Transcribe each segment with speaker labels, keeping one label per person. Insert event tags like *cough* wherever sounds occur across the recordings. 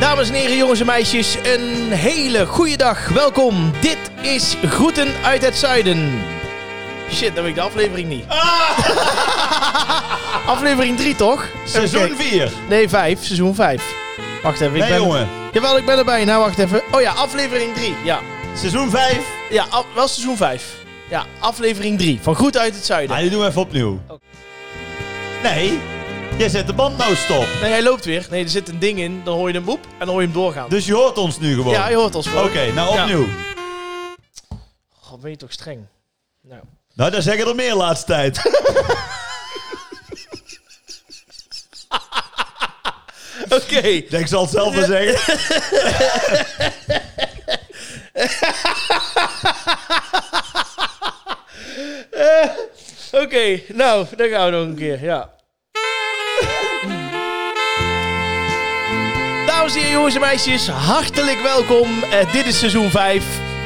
Speaker 1: Dames en heren, jongens en meisjes, een hele goede dag. Welkom. Dit is Groeten uit het Zuiden. Shit, dan weet ik de aflevering niet.
Speaker 2: Ah.
Speaker 1: *laughs* aflevering 3 toch? Even
Speaker 2: Seizoen
Speaker 1: kijken.
Speaker 2: 4.
Speaker 1: Nee, 5. Seizoen 5. Wacht even, ik
Speaker 2: Nee,
Speaker 1: ben...
Speaker 2: jongen.
Speaker 1: Jawel, ik ben erbij. Nou, wacht even. Oh ja, aflevering 3. Ja,
Speaker 2: Seizoen 5.
Speaker 1: ja af- wel seizoen 5. Ja, aflevering 3 van Groeten uit het Zuiden.
Speaker 2: Ah, die doen we even opnieuw. Nee, jij zet de band nou stop.
Speaker 1: Nee, hij loopt weer. Nee, er zit een ding in. Dan hoor je hem boep en dan hoor je hem doorgaan.
Speaker 2: Dus je hoort ons nu gewoon.
Speaker 1: Ja, je hoort ons wel.
Speaker 2: Oké, nou
Speaker 1: Ja.
Speaker 2: opnieuw.
Speaker 1: God, ben je toch streng. Nou.
Speaker 2: Nou, daar zeggen er meer laatste
Speaker 1: *laughs*
Speaker 2: tijd.
Speaker 1: Oké.
Speaker 2: Ik Denk, ik zal het zelf maar
Speaker 1: *laughs*
Speaker 2: zeggen.
Speaker 1: Oké, nou, dan gaan we nog een keer, ja. Dames en heren, jongens en meisjes, hartelijk welkom. Eh, dit is seizoen 5.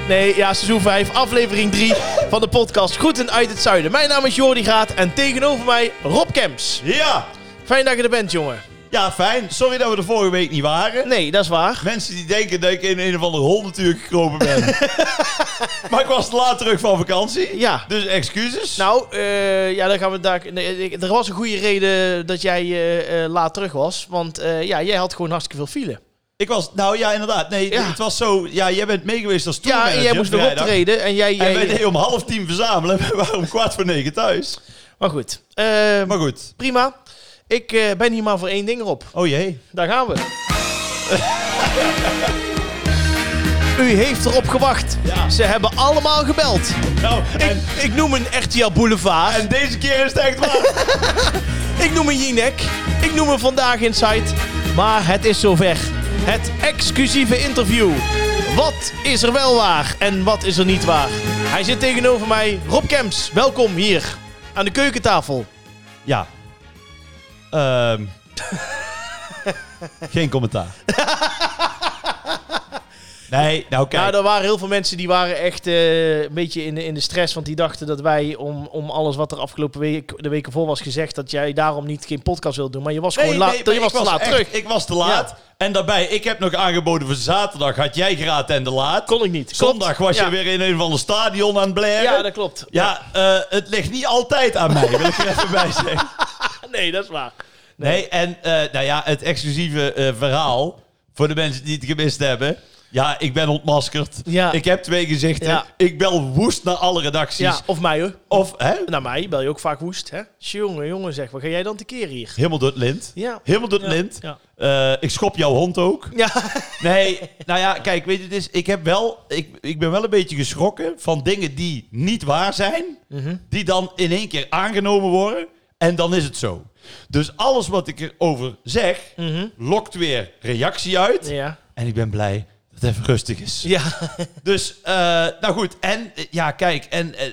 Speaker 1: Nee, ja, seizoen 5, aflevering 3 van de podcast Groeten uit het Zuiden. Mijn naam is Jordi Graat en tegenover mij Rob Kemps.
Speaker 2: Ja.
Speaker 1: Fijn dat je er bent, jongen.
Speaker 2: ja, fijn. Sorry dat we de vorige week niet waren.
Speaker 1: Nee, dat is waar.
Speaker 2: Mensen die denken dat ik in een of andere hondenuur gekropen
Speaker 1: *laughs*
Speaker 2: ben. maar ik was laat terug van vakantie.
Speaker 1: Ja.
Speaker 2: Dus excuses.
Speaker 1: Nou, eh, ja, dan gaan we daar. nee, ik- Er was een goede reden dat jij eh, eh, laat terug was. Want eh, ja, jij had gewoon hartstikke veel file.
Speaker 2: Ik was, nou ja, inderdaad. Nee,
Speaker 1: Ja.
Speaker 2: het was zo. Ja, jij bent meegeweest als
Speaker 1: Ja,
Speaker 2: tourmanager.
Speaker 1: en jij moest nog
Speaker 2: vrijdag.
Speaker 1: optreden. En jij,
Speaker 2: En
Speaker 1: jij...
Speaker 2: wij deden om half tien verzamelen. *laughs* We waren om kwart voor negen thuis.
Speaker 1: Maar goed, Eh,
Speaker 2: Maar goed.
Speaker 1: prima. Ik eh, ben hier maar voor één ding erop.
Speaker 2: Oh jee.
Speaker 1: Daar gaan we. *laughs* U heeft erop gewacht.
Speaker 2: Ja.
Speaker 1: Ze hebben allemaal gebeld.
Speaker 2: Nou, en,
Speaker 1: Ik, ik noem een RTL Boulevard.
Speaker 2: en deze keer is het echt
Speaker 1: *laughs*
Speaker 2: waar.
Speaker 1: Ik noem een Jinek. Ik noem een Vandaag Insight. Maar het is zover. Het exclusieve interview. Wat is er wel waar en wat is er niet waar? Hij zit tegenover mij, Rob Kemps. Welkom hier aan de keukentafel.
Speaker 2: ja. *laughs* Ehm. Geen *laughs* commentaar. Nee, nou kijk.
Speaker 1: Nou, er waren heel veel mensen die waren echt eh, een beetje in de, in de stress. Want die dachten dat wij om, om alles wat er afgelopen week, de weken voor was gezegd... dat jij daarom niet geen podcast wilde doen. Maar je was gewoon
Speaker 2: Nee,
Speaker 1: laat,
Speaker 2: nee,
Speaker 1: je
Speaker 2: maar
Speaker 1: was
Speaker 2: ik
Speaker 1: te laat
Speaker 2: echt-
Speaker 1: terug.
Speaker 2: Ik was te laat. En daarbij, ik heb nog aangeboden voor zaterdag. Had jij graad en de laat.
Speaker 1: Kon ik niet. Klopt.
Speaker 2: Zondag was
Speaker 1: Ja.
Speaker 2: je weer in een van de stadion aan het blaren.
Speaker 1: Ja, dat
Speaker 2: *laughs*
Speaker 1: klopt.
Speaker 2: Ja, eh, het ligt niet altijd aan mij, wil ik er even bij zeggen.
Speaker 1: Nee, dat is waar.
Speaker 2: Nee, en eh, nou ja, het exclusieve eh, verhaal voor de mensen die het gemist hebben. Ja, ik ben ontmaskerd.
Speaker 1: Ja.
Speaker 2: Ik heb twee gezichten.
Speaker 1: Ja.
Speaker 2: Ik bel woest naar alle redacties.
Speaker 1: Ja, of mij hoor.
Speaker 2: Of, hè?
Speaker 1: Naar mij bel je ook vaak woest, hè? Jongen, jongen, zeg, wat ga jij dan te keer hier?
Speaker 2: Helemaal door het lint.
Speaker 1: Ja.
Speaker 2: Helemaal door het
Speaker 1: Ja,
Speaker 2: lint.
Speaker 1: ja.
Speaker 2: Eh, ik schop jouw hond ook. *laughs*
Speaker 1: Ja,
Speaker 2: Nee, nou ja, kijk, weet je, het is, ik, heb wel, ik, ik ben wel een beetje geschrokken van dingen die niet waar zijn,
Speaker 1: Mhm.
Speaker 2: die dan in één keer aangenomen worden en dan is het zo. Dus alles wat ik erover zeg,
Speaker 1: Mhm.
Speaker 2: lokt weer reactie uit.
Speaker 1: ja.
Speaker 2: En ik ben blij dat het even rustig is.
Speaker 1: ja.
Speaker 2: Dus, eh, nou goed, en eh, ja, kijk, en eh, eh,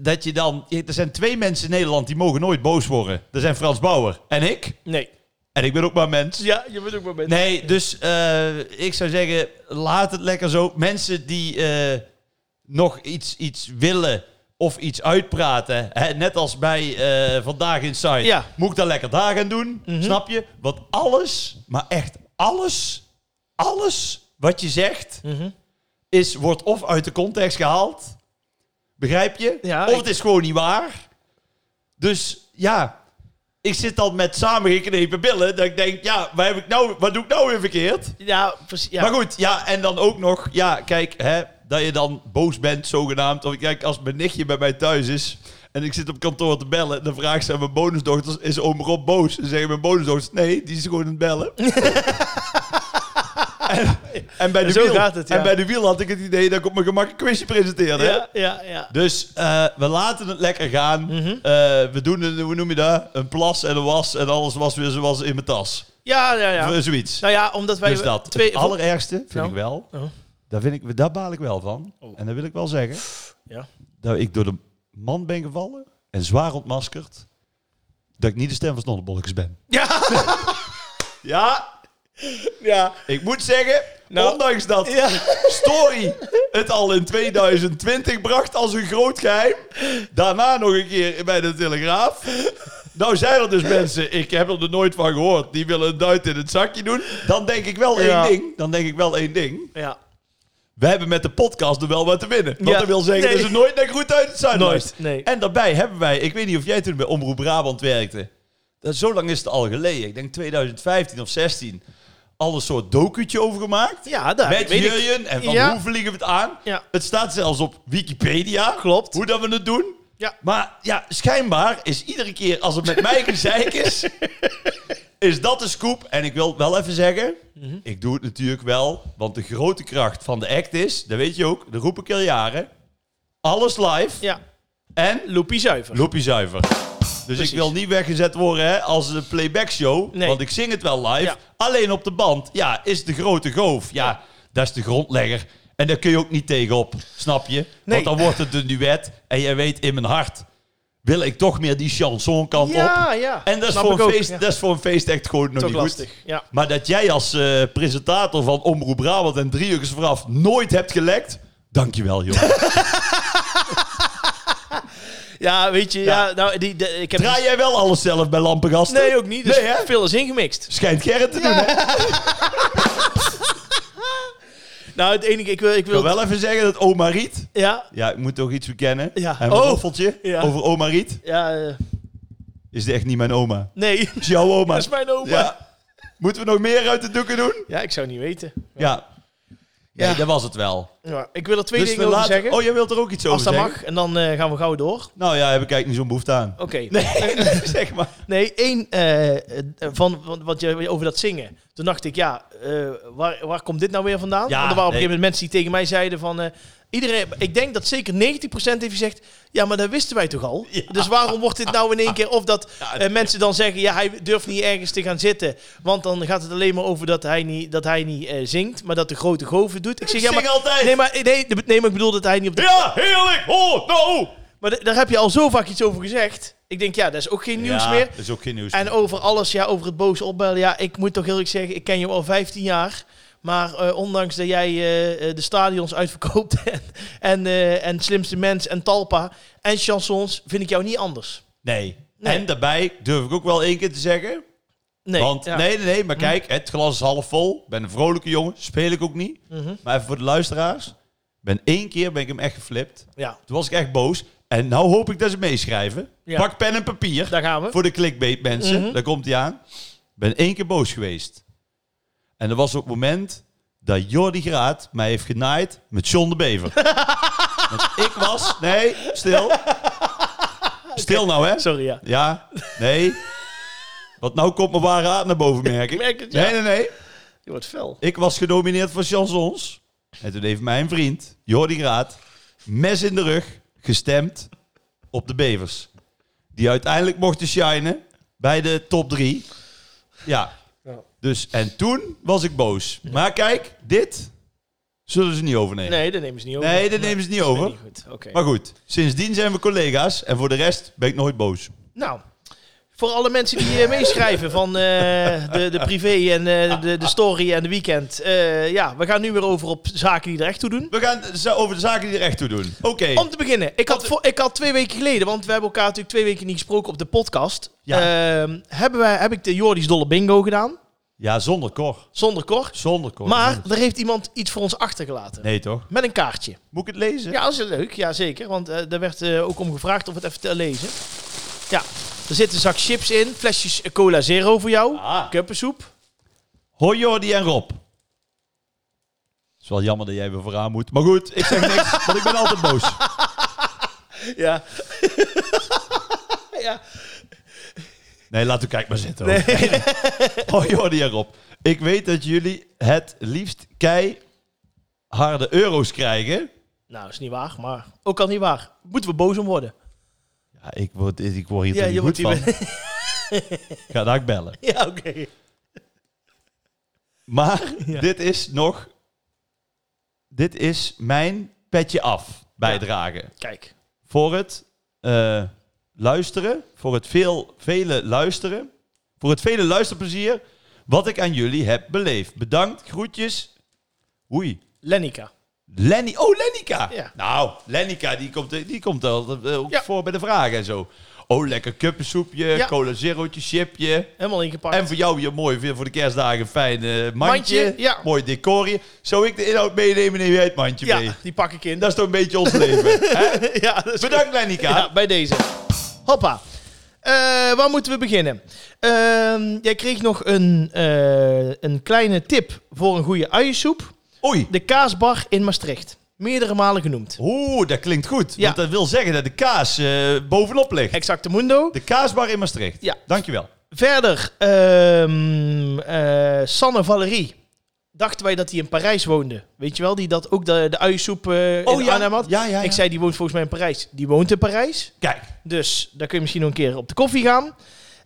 Speaker 2: dat je dan, er zijn twee mensen in Nederland die mogen nooit boos worden. Er zijn Frans Bauer en ik.
Speaker 1: Nee.
Speaker 2: En ik ben ook maar mens.
Speaker 1: Ja, je bent ook maar met.
Speaker 2: Nee, dus eh, ik zou zeggen, laat het lekker zo. Mensen die eh, nog iets, iets willen of iets uitpraten, hè, net als bij eh, Vandaag in Site,
Speaker 1: Ja. Mhm.
Speaker 2: moet ik dat lekker daar gaan doen, snap je? Want alles, maar echt alles, alles wat je zegt,
Speaker 1: Mhm.
Speaker 2: is, wordt of uit de context gehaald, begrijp je?
Speaker 1: Ja,
Speaker 2: of
Speaker 1: ik-
Speaker 2: het is gewoon niet waar. Dus ja, ik zit dan met samengeknepen billen. Dat ik denk, ja, wat, heb ik nou, wat doe ik nou weer verkeerd?
Speaker 1: Ja, precies. Ja.
Speaker 2: Maar goed, ja, en dan ook nog, ja, kijk, hè, dat je dan boos bent, zogenaamd. Of kijk, als mijn nichtje bij mij thuis is en ik zit op kantoor te bellen, dan vraagt ze aan mijn bonusdochters, is oom Rob boos? Dan zeggen mijn bonusdochters, nee, die is gewoon aan
Speaker 1: *laughs*
Speaker 2: het bellen. en, en, bij de
Speaker 1: Zo
Speaker 2: wiel,
Speaker 1: gaat het, ja.
Speaker 2: en bij de wiel had ik het idee dat ik op mijn gemak een quizje presenteerde. hè?
Speaker 1: Ja, Mhm. ja, ja.
Speaker 2: Dus eh, we laten het lekker gaan. Eh, we doen, een, hoe noem je dat? Een plas en een was en alles was weer zoals in mijn tas.
Speaker 1: Ja, ja, ja.
Speaker 2: Eh, Zoiets.
Speaker 1: Nou ja, omdat wij
Speaker 2: Dus dat.
Speaker 1: twee...
Speaker 2: het allerergste vind
Speaker 1: Nou.
Speaker 2: ik wel.
Speaker 1: Oh.
Speaker 2: Daar, vind ik, daar baal ik wel van.
Speaker 1: Oh.
Speaker 2: En dat wil ik wel zeggen.
Speaker 1: Ja.
Speaker 2: Dat ik door de man ben gevallen en zwaar ontmaskerd. Dat ik niet de stem van Snodderbolletjes
Speaker 1: *laughs*
Speaker 2: ben.
Speaker 1: Ja,
Speaker 2: Ja,
Speaker 1: ja.
Speaker 2: ik moet zeggen,
Speaker 1: Nou.
Speaker 2: ondanks dat
Speaker 1: ja.
Speaker 2: Story het al in 2020 bracht als een groot geheim. Daarna nog een keer bij de Telegraaf. Nou zijn er dus mensen, ik heb er nooit van gehoord, die willen een duit in het zakje doen. Dan denk ik wel
Speaker 1: Ja.
Speaker 2: één ding. Dan denk ik wel één ding.
Speaker 1: Ja.
Speaker 2: We hebben met de podcast er wel wat te winnen. Wat
Speaker 1: Ja.
Speaker 2: dat wil zeggen
Speaker 1: Nee.
Speaker 2: dat ze nooit naar goed uit het zuiden
Speaker 1: Nooit,
Speaker 2: luisteren.
Speaker 1: nee.
Speaker 2: En daarbij hebben wij, ik weet niet of jij toen bij Omroep Brabant werkte. Dat, zo lang is het al geleden. Ik denk 2015 of 16. Al een soort docutje over gemaakt.
Speaker 1: Ja, daar
Speaker 2: Met
Speaker 1: weet ik.
Speaker 2: Jurjen en Van
Speaker 1: Ja.
Speaker 2: Hoeven liggen we het aan.
Speaker 1: Ja.
Speaker 2: Het staat zelfs op Wikipedia.
Speaker 1: Klopt.
Speaker 2: Hoe dat we het doen.
Speaker 1: Ja.
Speaker 2: Maar ja, schijnbaar is iedere keer als het met mij gezeik is, is dat de scoop. En ik wil het wel even zeggen, ik doe het natuurlijk wel, want de grote kracht van de act is, dat weet je ook, dat roep ik al jaren, alles live
Speaker 1: Ja.
Speaker 2: en
Speaker 1: Loepie zuiver.
Speaker 2: loopie zuiver. Dus
Speaker 1: Precies.
Speaker 2: ik wil niet weggezet worden hè, als een playback show,
Speaker 1: Nee.
Speaker 2: want ik zing het wel live.
Speaker 1: Ja.
Speaker 2: Alleen op de band, ja, is de grote goof. Ja, dat is de grondlegger. En daar kun je ook niet tegenop, snap je?
Speaker 1: Nee.
Speaker 2: Want dan wordt het een duet en jij weet in mijn hart... wil ik toch meer die chansonkant op.
Speaker 1: ja, ja.
Speaker 2: En dat is,
Speaker 1: Snap
Speaker 2: voor
Speaker 1: ik
Speaker 2: een
Speaker 1: ook,
Speaker 2: feest,
Speaker 1: ja.
Speaker 2: dat is voor een feest echt gewoon nog
Speaker 1: Toch
Speaker 2: niet
Speaker 1: lastig.
Speaker 2: goed.
Speaker 1: Ja.
Speaker 2: Maar dat jij als eh, presentator van Omroep Brabant en Driehoekers vooraf nooit hebt gelekt...
Speaker 1: *laughs*
Speaker 2: Dankjewel, joh.
Speaker 1: ja, weet je, ja. nou, die, de- ik heb...
Speaker 2: Draai jij wel alles zelf bij Lampengasten?
Speaker 1: Nee, ook niet. Dus
Speaker 2: Nee, hè?
Speaker 1: *laughs* veel is ingemixt.
Speaker 2: Schijnt Gerrit te doen, hè?
Speaker 1: Nou, het enige, ik wil... Ik
Speaker 2: Ik wil
Speaker 1: wil
Speaker 2: wel even zeggen dat Oma Riet...
Speaker 1: Ja,
Speaker 2: Ja, ik moet toch iets bekennen.
Speaker 1: Ja.
Speaker 2: Hebben we
Speaker 1: Oh.
Speaker 2: een roffeltje
Speaker 1: Ja.
Speaker 2: over Oma Riet.
Speaker 1: ja, eh,
Speaker 2: Is dit echt niet mijn oma?
Speaker 1: nee.
Speaker 2: Is jouw
Speaker 1: *laughs*
Speaker 2: oma?
Speaker 1: Dat is mijn oma. Ja.
Speaker 2: Ja. Moeten we nog meer uit de doeken doen?
Speaker 1: ik zou niet weten.
Speaker 2: Ja. Nee,
Speaker 1: Ja.
Speaker 2: dat was het wel.
Speaker 1: Ja, ik wil er twee
Speaker 2: Dus we
Speaker 1: dingen over
Speaker 2: laten-
Speaker 1: zeggen.
Speaker 2: Oh, jij wilt er ook iets
Speaker 1: als
Speaker 2: over
Speaker 1: dat
Speaker 2: zeggen?
Speaker 1: mag. En dan eh, gaan we gauw door. Oké.
Speaker 2: Nou ja, heb ik eigenlijk niet zo'n behoefte aan. Nee, *laughs* zeg maar.
Speaker 1: Nee, één eh, eh, van, van wat je over dat zingen. Toen dacht ik, ja, eh, waar, waar komt dit nou weer vandaan?
Speaker 2: Ja,
Speaker 1: Want er waren op een
Speaker 2: nee.
Speaker 1: gegeven moment mensen die tegen mij zeiden van... eh, iedereen, ik denk dat zeker 90% heeft gezegd, ja, maar dat wisten wij toch al?
Speaker 2: Ja.
Speaker 1: Dus waarom wordt dit nou in één keer... Of dat
Speaker 2: Ja,
Speaker 1: eh, mensen dan zeggen, ja, hij durft niet ergens te gaan zitten. Want dan gaat het alleen maar over dat hij niet, dat hij niet eh, zingt, maar dat de grote goven doet. Ik zeg,
Speaker 2: Ik
Speaker 1: ja,
Speaker 2: zing
Speaker 1: maar...
Speaker 2: altijd.
Speaker 1: Nee, maar, nee, de- nee, maar ik bedoel dat hij niet op de...
Speaker 2: Ja, heerlijk. Oh, nou.
Speaker 1: Maar da- daar heb je al zo vaak iets over gezegd. Ik denk, ja, dat is ook geen nieuws
Speaker 2: Ja,
Speaker 1: meer.
Speaker 2: Dat is ook geen nieuws
Speaker 1: En
Speaker 2: meer.
Speaker 1: over alles, ja, over het boos opbellen. Ja, ik moet toch heel eerlijk zeggen, ik ken je al 15 jaar. Maar eh, ondanks dat jij eh, eh, de stadions uitverkoopt *laughs* en, en, eh, en Slimste Mens en Talpa en chansons, vind ik jou niet anders.
Speaker 2: Nee.
Speaker 1: Nee.
Speaker 2: En daarbij durf ik ook wel één keer te zeggen.
Speaker 1: Nee,
Speaker 2: Want,
Speaker 1: ja. Hm.
Speaker 2: nee, nee, nee, maar kijk, het glas is half vol. Ik ben een vrolijke jongen, speel ik ook niet.
Speaker 1: Mhm.
Speaker 2: Maar even voor de luisteraars. Ik Ben één keer ben ik hem echt geflipt.
Speaker 1: Ja,
Speaker 2: Toen was ik echt boos. En nou hoop ik dat ze meeschrijven.
Speaker 1: Ja.
Speaker 2: Pak pen en papier
Speaker 1: daar gaan we.
Speaker 2: voor de clickbait mensen.
Speaker 1: Mhm.
Speaker 2: Daar komt hij aan. Ik ben één keer boos geweest. En dat was op het moment dat Jordi Graat mij heeft genaaid met John de
Speaker 1: *laughs*
Speaker 2: Bever. Want ik was... Nee, stil. Stil nou, hè.
Speaker 1: Sorry, ja.
Speaker 2: Ja, nee. Want nou komt mijn ware aard naar boven,
Speaker 1: Ik
Speaker 2: merk ik.
Speaker 1: merk het, ja.
Speaker 2: Nee, nee, nee.
Speaker 1: Je wordt fel.
Speaker 2: Ik was genomineerd voor chansons. En toen heeft mijn vriend, Jordi Graat, mes in de rug, gestemd op de Bevers. Die uiteindelijk mochten shinen bij de top drie. Ja.
Speaker 1: Ja.
Speaker 2: Dus, en toen was ik boos. Maar kijk, dit zullen ze niet overnemen.
Speaker 1: Nee, dat nemen ze niet over.
Speaker 2: Nee, dat nemen ze niet
Speaker 1: Nee,
Speaker 2: over.
Speaker 1: niet goed. Oké.
Speaker 2: Maar goed, sindsdien zijn we collega's. En voor de rest ben ik nooit boos.
Speaker 1: Nou, voor alle mensen die eh, meeschrijven van eh, de, de privé en eh, de, de story en de weekend. eh, ja, we gaan nu weer over op zaken die er echt toe doen.
Speaker 2: We gaan het over de zaken die er echt toe doen. Oké.
Speaker 1: Om te beginnen, ik had, voor- ik had twee weken geleden, want we hebben elkaar natuurlijk twee weken niet gesproken op de podcast.
Speaker 2: Ja.
Speaker 1: Ehm, hebben wij, heb ik de Jordi's Dolle Bingo gedaan,
Speaker 2: Ja, zonder kor.
Speaker 1: zonder kor.
Speaker 2: Zonder kor.
Speaker 1: Maar er heeft iemand iets voor ons achtergelaten.
Speaker 2: Nee, toch?
Speaker 1: Met een kaartje.
Speaker 2: Moet ik het lezen?
Speaker 1: Ja, dat is leuk. Ja, zeker. Want eh daar werd eh, ook om gevraagd of we het even te lezen. Ja, er zit een zak chips in, flesjes eh, cola zero voor jou,
Speaker 2: Ah.
Speaker 1: kuppensoep.
Speaker 2: Hoi Jordi en Rob. is wel jammer dat jij weer vooraan moet. Maar goed, ik zeg *laughs* niks, want ik ben altijd boos.
Speaker 1: Ja. *laughs* ja.
Speaker 2: Nee, laat u kijk maar zitten. hoor. *laughs* Hoi Jordi en Rob. Ik weet dat jullie het liefst keiharde euro's krijgen.
Speaker 1: Nou, is niet waar, maar ook al niet waar. Moeten we boos om worden?
Speaker 2: Ja, ik word, ik word hier
Speaker 1: Ja,
Speaker 2: toch niet
Speaker 1: je
Speaker 2: goed
Speaker 1: wordt
Speaker 2: van.
Speaker 1: hier
Speaker 2: Ik ga daar bellen.
Speaker 1: Ja, oké.
Speaker 2: Maar
Speaker 1: *laughs* Ja.
Speaker 2: dit is nog... Dit is mijn petje af bijdrage.
Speaker 1: Kijk.
Speaker 2: voor het eh, luisteren, voor het veel, vele luisteren, voor het vele luisterplezier wat ik aan jullie heb beleefd. Bedankt, groetjes. Oei,
Speaker 1: Lennica.
Speaker 2: Lenny. Oh, Lennica.
Speaker 1: Ja.
Speaker 2: Nou, Lennica, die komt, die komt al eh, ook
Speaker 1: Ja.
Speaker 2: voor bij de vragen en zo. Oh, lekker kuppensoepje,
Speaker 1: Ja.
Speaker 2: cola zerootje, chipje.
Speaker 1: Helemaal ingepakt.
Speaker 2: En voor jou weer mooi, weer voor de kerstdagen een fijn eh, mandje.
Speaker 1: Mandje, ja.
Speaker 2: Mooi decorje. Zou ik de inhoud meenemen, neem jij het mandje mee.
Speaker 1: ja, die pak ik in.
Speaker 2: Dat is toch een beetje ons
Speaker 1: *laughs*
Speaker 2: leven. hè?
Speaker 1: ja, dat is
Speaker 2: Bedankt, Lenica.
Speaker 1: Ja, bij deze. Hoppa. Eh, waar moeten we beginnen? Ehm, jij kreeg nog een, eh, een kleine tip voor een goede uiensoep.
Speaker 2: Oei.
Speaker 1: De kaasbar in Maastricht. Meerdere malen genoemd.
Speaker 2: Oeh, dat klinkt goed.
Speaker 1: Ja.
Speaker 2: Want dat wil zeggen dat de kaas eh, bovenop ligt.
Speaker 1: Exacte mundo.
Speaker 2: De kaasbar in Maastricht.
Speaker 1: Ja.
Speaker 2: Dankjewel.
Speaker 1: Verder, ehm, eh, Sanne Valerie. Dachten wij dat hij in Parijs woonde. Weet je wel, die dat ook de, de uiensoep eh in Arnhem had.
Speaker 2: Oh Ja, ja, ja.
Speaker 1: Ik zei, die woont volgens mij in Parijs. Die woont in Parijs.
Speaker 2: Kijk,
Speaker 1: Dus daar kun je misschien nog een keer op de koffie gaan.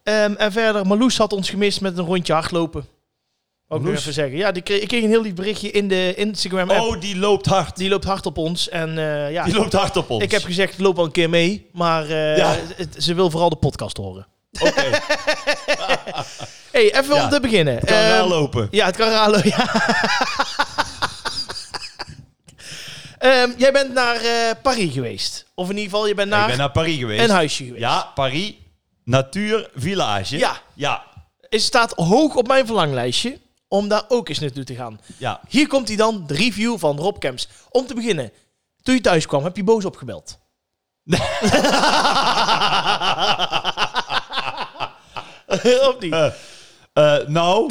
Speaker 1: Ehm, en verder, Marloes had ons gemist met een rondje hardlopen. Ook nog
Speaker 2: Marloes?
Speaker 1: even zeggen. Ja, die kreeg, ik kreeg een heel lief berichtje in de Instagram-app.
Speaker 2: oh, die loopt hard.
Speaker 1: Die loopt hard op ons. En eh, ja,
Speaker 2: Die loopt hard op ons.
Speaker 1: ik heb gezegd, loop al een keer mee. Maar eh,
Speaker 2: Ja.
Speaker 1: het- ze wil vooral de podcast horen.
Speaker 2: Oké,
Speaker 1: hey, even
Speaker 2: Ja,
Speaker 1: om te beginnen. *laughs*
Speaker 2: kan
Speaker 1: Ehm,
Speaker 2: raar lopen.
Speaker 1: Ja, het kan raar lopen, ja.
Speaker 2: *laughs*
Speaker 1: Ehm, jij bent naar eh, Parijs geweest. Of in ieder geval, je bent
Speaker 2: Ik
Speaker 1: naar,
Speaker 2: ben naar Parijs geweest.
Speaker 1: een huisje geweest.
Speaker 2: Ja, Parijs. Natuur Village.
Speaker 1: Ja.
Speaker 2: Ja.
Speaker 1: Het staat hoog op mijn verlanglijstje om daar ook eens naartoe te gaan.
Speaker 2: Ja.
Speaker 1: Hier komt hij dan, de review van Rob Kemps. Om te beginnen, toen je thuis kwam, heb je boos opgebeld. *laughs* *laughs* of niet?
Speaker 2: Eh, nou.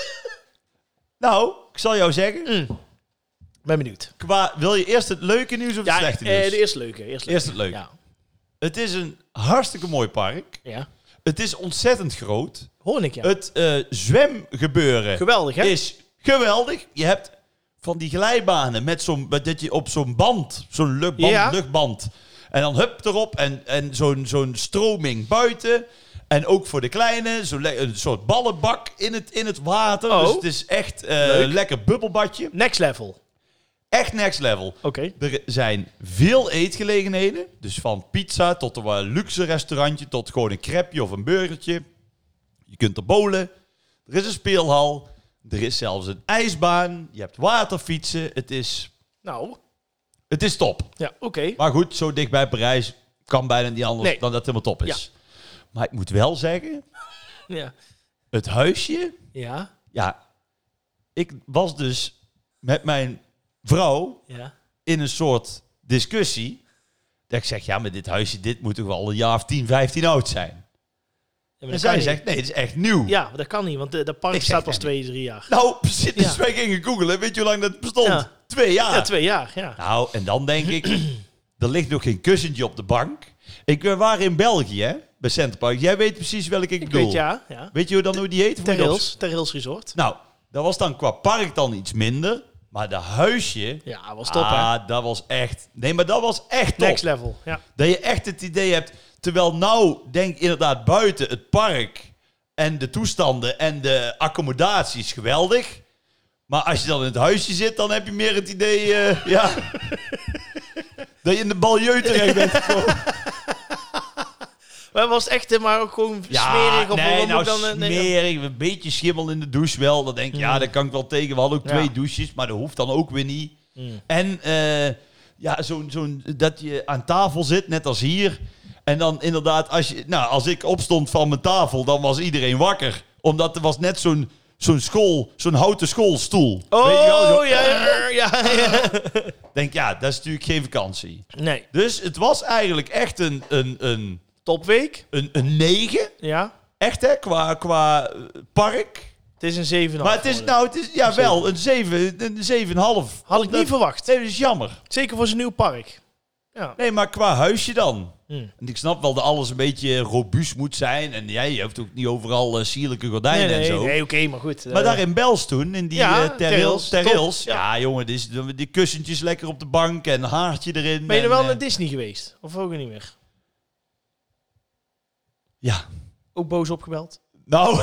Speaker 2: *laughs* nou, ik zal jou zeggen.
Speaker 1: Eh. Mm. Ben benieuwd.
Speaker 2: Qua, wil je eerst het leuke nieuws of het
Speaker 1: Ja, eh,
Speaker 2: slechte nieuws?
Speaker 1: de eerste leuke. Eerst,
Speaker 2: Eerst het leuke.
Speaker 1: Ja.
Speaker 2: Het is een hartstikke mooi park.
Speaker 1: ja.
Speaker 2: Het is ontzettend groot.
Speaker 1: Hoor ik ja.
Speaker 2: Het eh, zwemgebeuren
Speaker 1: Geweldig, hè?
Speaker 2: is geweldig. Je hebt van die glijbanen met zo'n, met dat je op zo'n band, zo'n luchtband,
Speaker 1: Ja.
Speaker 2: luchtband. En dan hup erop en, en zo'n, zo'n stroming buiten. En ook voor de kleine, zo le- een soort ballenbak in het, in het water.
Speaker 1: Oh.
Speaker 2: Dus het is echt eh
Speaker 1: Leuk.
Speaker 2: lekker bubbelbadje.
Speaker 1: Next level. Oké.
Speaker 2: Echt next level. Er zijn veel eetgelegenheden. Dus van pizza tot een wat luxe restaurantje, tot gewoon een crepeje of een burgertje. Je kunt er bowlen. Er is een speelhal. Er is zelfs een ijsbaan. Je hebt waterfietsen. Het is,
Speaker 1: Nou,
Speaker 2: het is top.
Speaker 1: ja, oké.
Speaker 2: Maar goed, zo dicht bij Parijs kan bijna niet anders
Speaker 1: Nee.
Speaker 2: dan dat het helemaal top is. Maar ik moet wel zeggen,
Speaker 1: Ja.
Speaker 2: het huisje...
Speaker 1: Ja.
Speaker 2: Ja, ik was dus met mijn vrouw
Speaker 1: Ja.
Speaker 2: in een soort discussie. Dat ik zeg, ja, maar dit huisje, dit moet toch wel een jaar of 10, 15 oud zijn.
Speaker 1: Ja, maar
Speaker 2: En
Speaker 1: dat kan
Speaker 2: zij
Speaker 1: niet.
Speaker 2: zegt, nee, het is echt nieuw.
Speaker 1: Ja, maar dat kan niet, want de- dat park
Speaker 2: Ik zeg
Speaker 1: staat pas
Speaker 2: dat
Speaker 1: twee, drie jaar.
Speaker 2: Nou, *laughs* precies, dus
Speaker 1: Ja.
Speaker 2: wij gingen googlen. Weet je hoe lang dat bestond?
Speaker 1: Ja.
Speaker 2: Twee jaar.
Speaker 1: Ja, twee jaar, ja.
Speaker 2: Nou, en dan denk ik, *clears throat* er ligt nog geen kussentje op de bank. Ik ben waar in België, hè, bij Centerpark. Jij weet precies welke ik,
Speaker 1: Ik
Speaker 2: bedoil.
Speaker 1: weet ja, ja.
Speaker 2: Weet je hoe dan hoe die heet? Moet je opzoeken.
Speaker 1: Terrails, Terrails Resort.
Speaker 2: Nou, dat was dan qua park dan iets minder. Maar de huisje...
Speaker 1: Ja, was top hè.
Speaker 2: ah, dat was echt... Nee, maar dat was echt top.
Speaker 1: Next level, ja.
Speaker 2: Dat je echt het idee hebt, terwijl nou denk ik inderdaad buiten het park en de toestanden en de accommodaties geweldig. Maar als je dan in het huisje zit, dan heb je meer het idee, eh, ja, dat je in de banlieue terecht bent gekomen.
Speaker 1: Maar was het echt, eh, maar ook gewoon smerig of
Speaker 2: nee,
Speaker 1: waarom
Speaker 2: nou
Speaker 1: ook dan... eh, nee, Hmm.
Speaker 2: smerig, een beetje schimmel in de douche wel. Dan denk je, ja, dat kan ik wel tegen. We hadden ook
Speaker 1: Ja. Hmm.
Speaker 2: twee douches, maar dat hoeft dan ook weer niet. En eh, ja, zo'n zo'n dat je aan tafel zit, net als hier. En dan inderdaad, als, je, nou, als ik opstond van mijn tafel, dan was iedereen wakker. Omdat er was net zo'n zo'n school, zo'n houten schoolstoel.
Speaker 1: Oh,
Speaker 2: Weet je wel, zo-
Speaker 1: ja, ja, ja, ja.
Speaker 2: Denk, ja, dat is natuurlijk geen vakantie.
Speaker 1: Nee,
Speaker 2: Dus het was eigenlijk echt een, een, een,
Speaker 1: topweek.
Speaker 2: een, een negen.
Speaker 1: Ja,
Speaker 2: Echt, hè, qua, qua eh, park.
Speaker 1: het is nou een 7
Speaker 2: Maar het is, nou, het is, ja, wel, een 7, een 7,5.
Speaker 1: Had ik niet verwacht.
Speaker 2: Nee, dat is jammer.
Speaker 1: Zeker voor zo'n nieuw park. Ja.
Speaker 2: Nee, maar qua huisje dan.
Speaker 1: Hmm.
Speaker 2: En ik snap wel dat alles een beetje robuust moet zijn. En jij je hebt ook niet overal eh, sierlijke
Speaker 1: Nee,
Speaker 2: gordijnen
Speaker 1: nee,
Speaker 2: en zo.
Speaker 1: nee, oké, maar goed.
Speaker 2: Maar
Speaker 1: eh,
Speaker 2: daar in Bels toen, in die
Speaker 1: ja,
Speaker 2: eh,
Speaker 1: Terrails,
Speaker 2: terrails. terrails.
Speaker 1: top, ja.
Speaker 2: Ja, jongen, die, is- die kussentjes lekker op de bank en een haartje erin.
Speaker 1: Ben je er
Speaker 2: en,
Speaker 1: wel
Speaker 2: eh,
Speaker 1: naar Disney geweest? Of ook niet meer?
Speaker 2: Ja.
Speaker 1: Ook boos opgebeld? *laughs*
Speaker 2: Nou,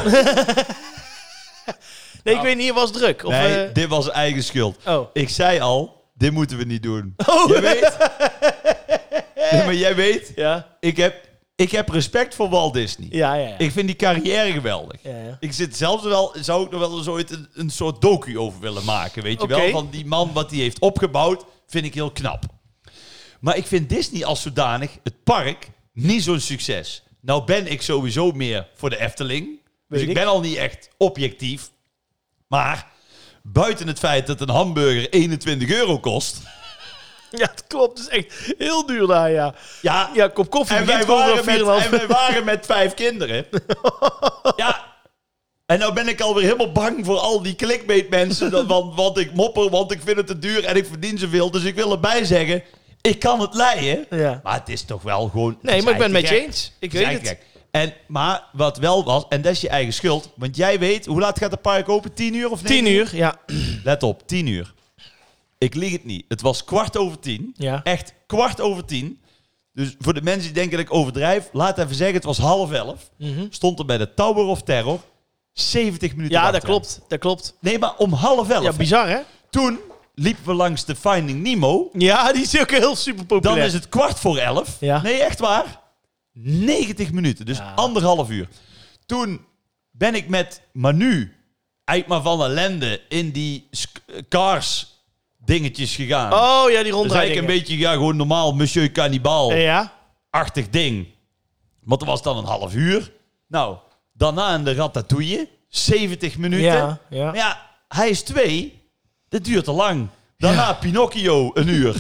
Speaker 1: Nee, ik weet niet, hier was druk. Of,
Speaker 2: nee,
Speaker 1: eh,
Speaker 2: dit was eigen schuld.
Speaker 1: oh.
Speaker 2: Ik zei al, dit moeten we niet doen.
Speaker 1: *laughs* Oh,
Speaker 2: Je weet... *laughs* Nee, maar jij weet,
Speaker 1: ja.
Speaker 2: ik heb, ik heb respect voor Walt Disney.
Speaker 1: Ja, ja, ja.
Speaker 2: Ik vind die carrière geweldig.
Speaker 1: ja, ja.
Speaker 2: Ik zit zelfs wel, zou ik nog wel eens ooit een, een soort docu over willen maken, weet je
Speaker 1: Oké.
Speaker 2: wel? Van die man wat hij heeft opgebouwd, vind ik heel knap. Maar ik vind Disney als zodanig, het park, niet zo'n succes. Nou ben ik sowieso meer voor de Efteling. Dus
Speaker 1: Weet
Speaker 2: ik.
Speaker 1: ik.
Speaker 2: ben al niet echt objectief. Maar buiten het feit dat een hamburger 21 euro kost.
Speaker 1: Ja, dat klopt. Het is echt heel duur daar, ja.
Speaker 2: Ja,
Speaker 1: Ja, kop koffie
Speaker 2: en, wij
Speaker 1: begint gewoon
Speaker 2: waren
Speaker 1: vanaf 4,5.
Speaker 2: met, en wij waren met vijf
Speaker 1: *laughs*
Speaker 2: kinderen. ja. En nou ben ik alweer helemaal bang voor al die clickbait mensen. dat- Want, want ik mopper, want ik vind het te duur en ik verdien zoveel. Dus ik wil erbij zeggen, ik kan het leiden.
Speaker 1: Ja.
Speaker 2: Maar het is toch wel gewoon...
Speaker 1: Nee, maar ik ben het met je
Speaker 2: James.
Speaker 1: eens. Ik
Speaker 2: Het
Speaker 1: weet het.
Speaker 2: is eigenlijk gek. En, maar wat wel was, en dat is je eigen schuld. Want jij weet, hoe laat gaat het park open? 10 uur of
Speaker 1: 10
Speaker 2: 9
Speaker 1: uur, ja.
Speaker 2: Let op, 10 uur. Ik lieg het niet. Het was kwart over tien.
Speaker 1: Ja.
Speaker 2: Echt kwart over tien. Dus voor de mensen die denken dat ik overdrijf, laat even zeggen, het was half elf. Stond er bij de Tower of Terror 70 minuten
Speaker 1: Mhm. Ja, dat
Speaker 2: wachtrij.
Speaker 1: klopt. Dat klopt.
Speaker 2: Nee, maar om half elf.
Speaker 1: Ja, bizar, hè?
Speaker 2: Toen liepen we langs de Finding Nemo.
Speaker 1: *laughs* Ja, die is ook heel super
Speaker 2: Dan
Speaker 1: populair.
Speaker 2: is het kwart voor elf.
Speaker 1: Ja.
Speaker 2: Nee, echt waar. 90 minuten, dus
Speaker 1: Ja.
Speaker 2: anderhalf uur. Toen ben ik met Manu uit maar van ellende in die sk- cars dingetjes gegaan.
Speaker 1: Oh ja, die
Speaker 2: Dat is eigenlijk
Speaker 1: rondrijding.
Speaker 2: een beetje ja, gewoon normaal Monsieur Cannibal-achtig
Speaker 1: Ja,
Speaker 2: ding. Want dat was dan een half uur. Nou, daarna in de Ratatouille, 70 minuten.
Speaker 1: ja,
Speaker 2: Maar
Speaker 1: ja.
Speaker 2: ja, hij is twee. Dat duurt te lang. Daarna Pinocchio, een
Speaker 1: *laughs*
Speaker 2: uur.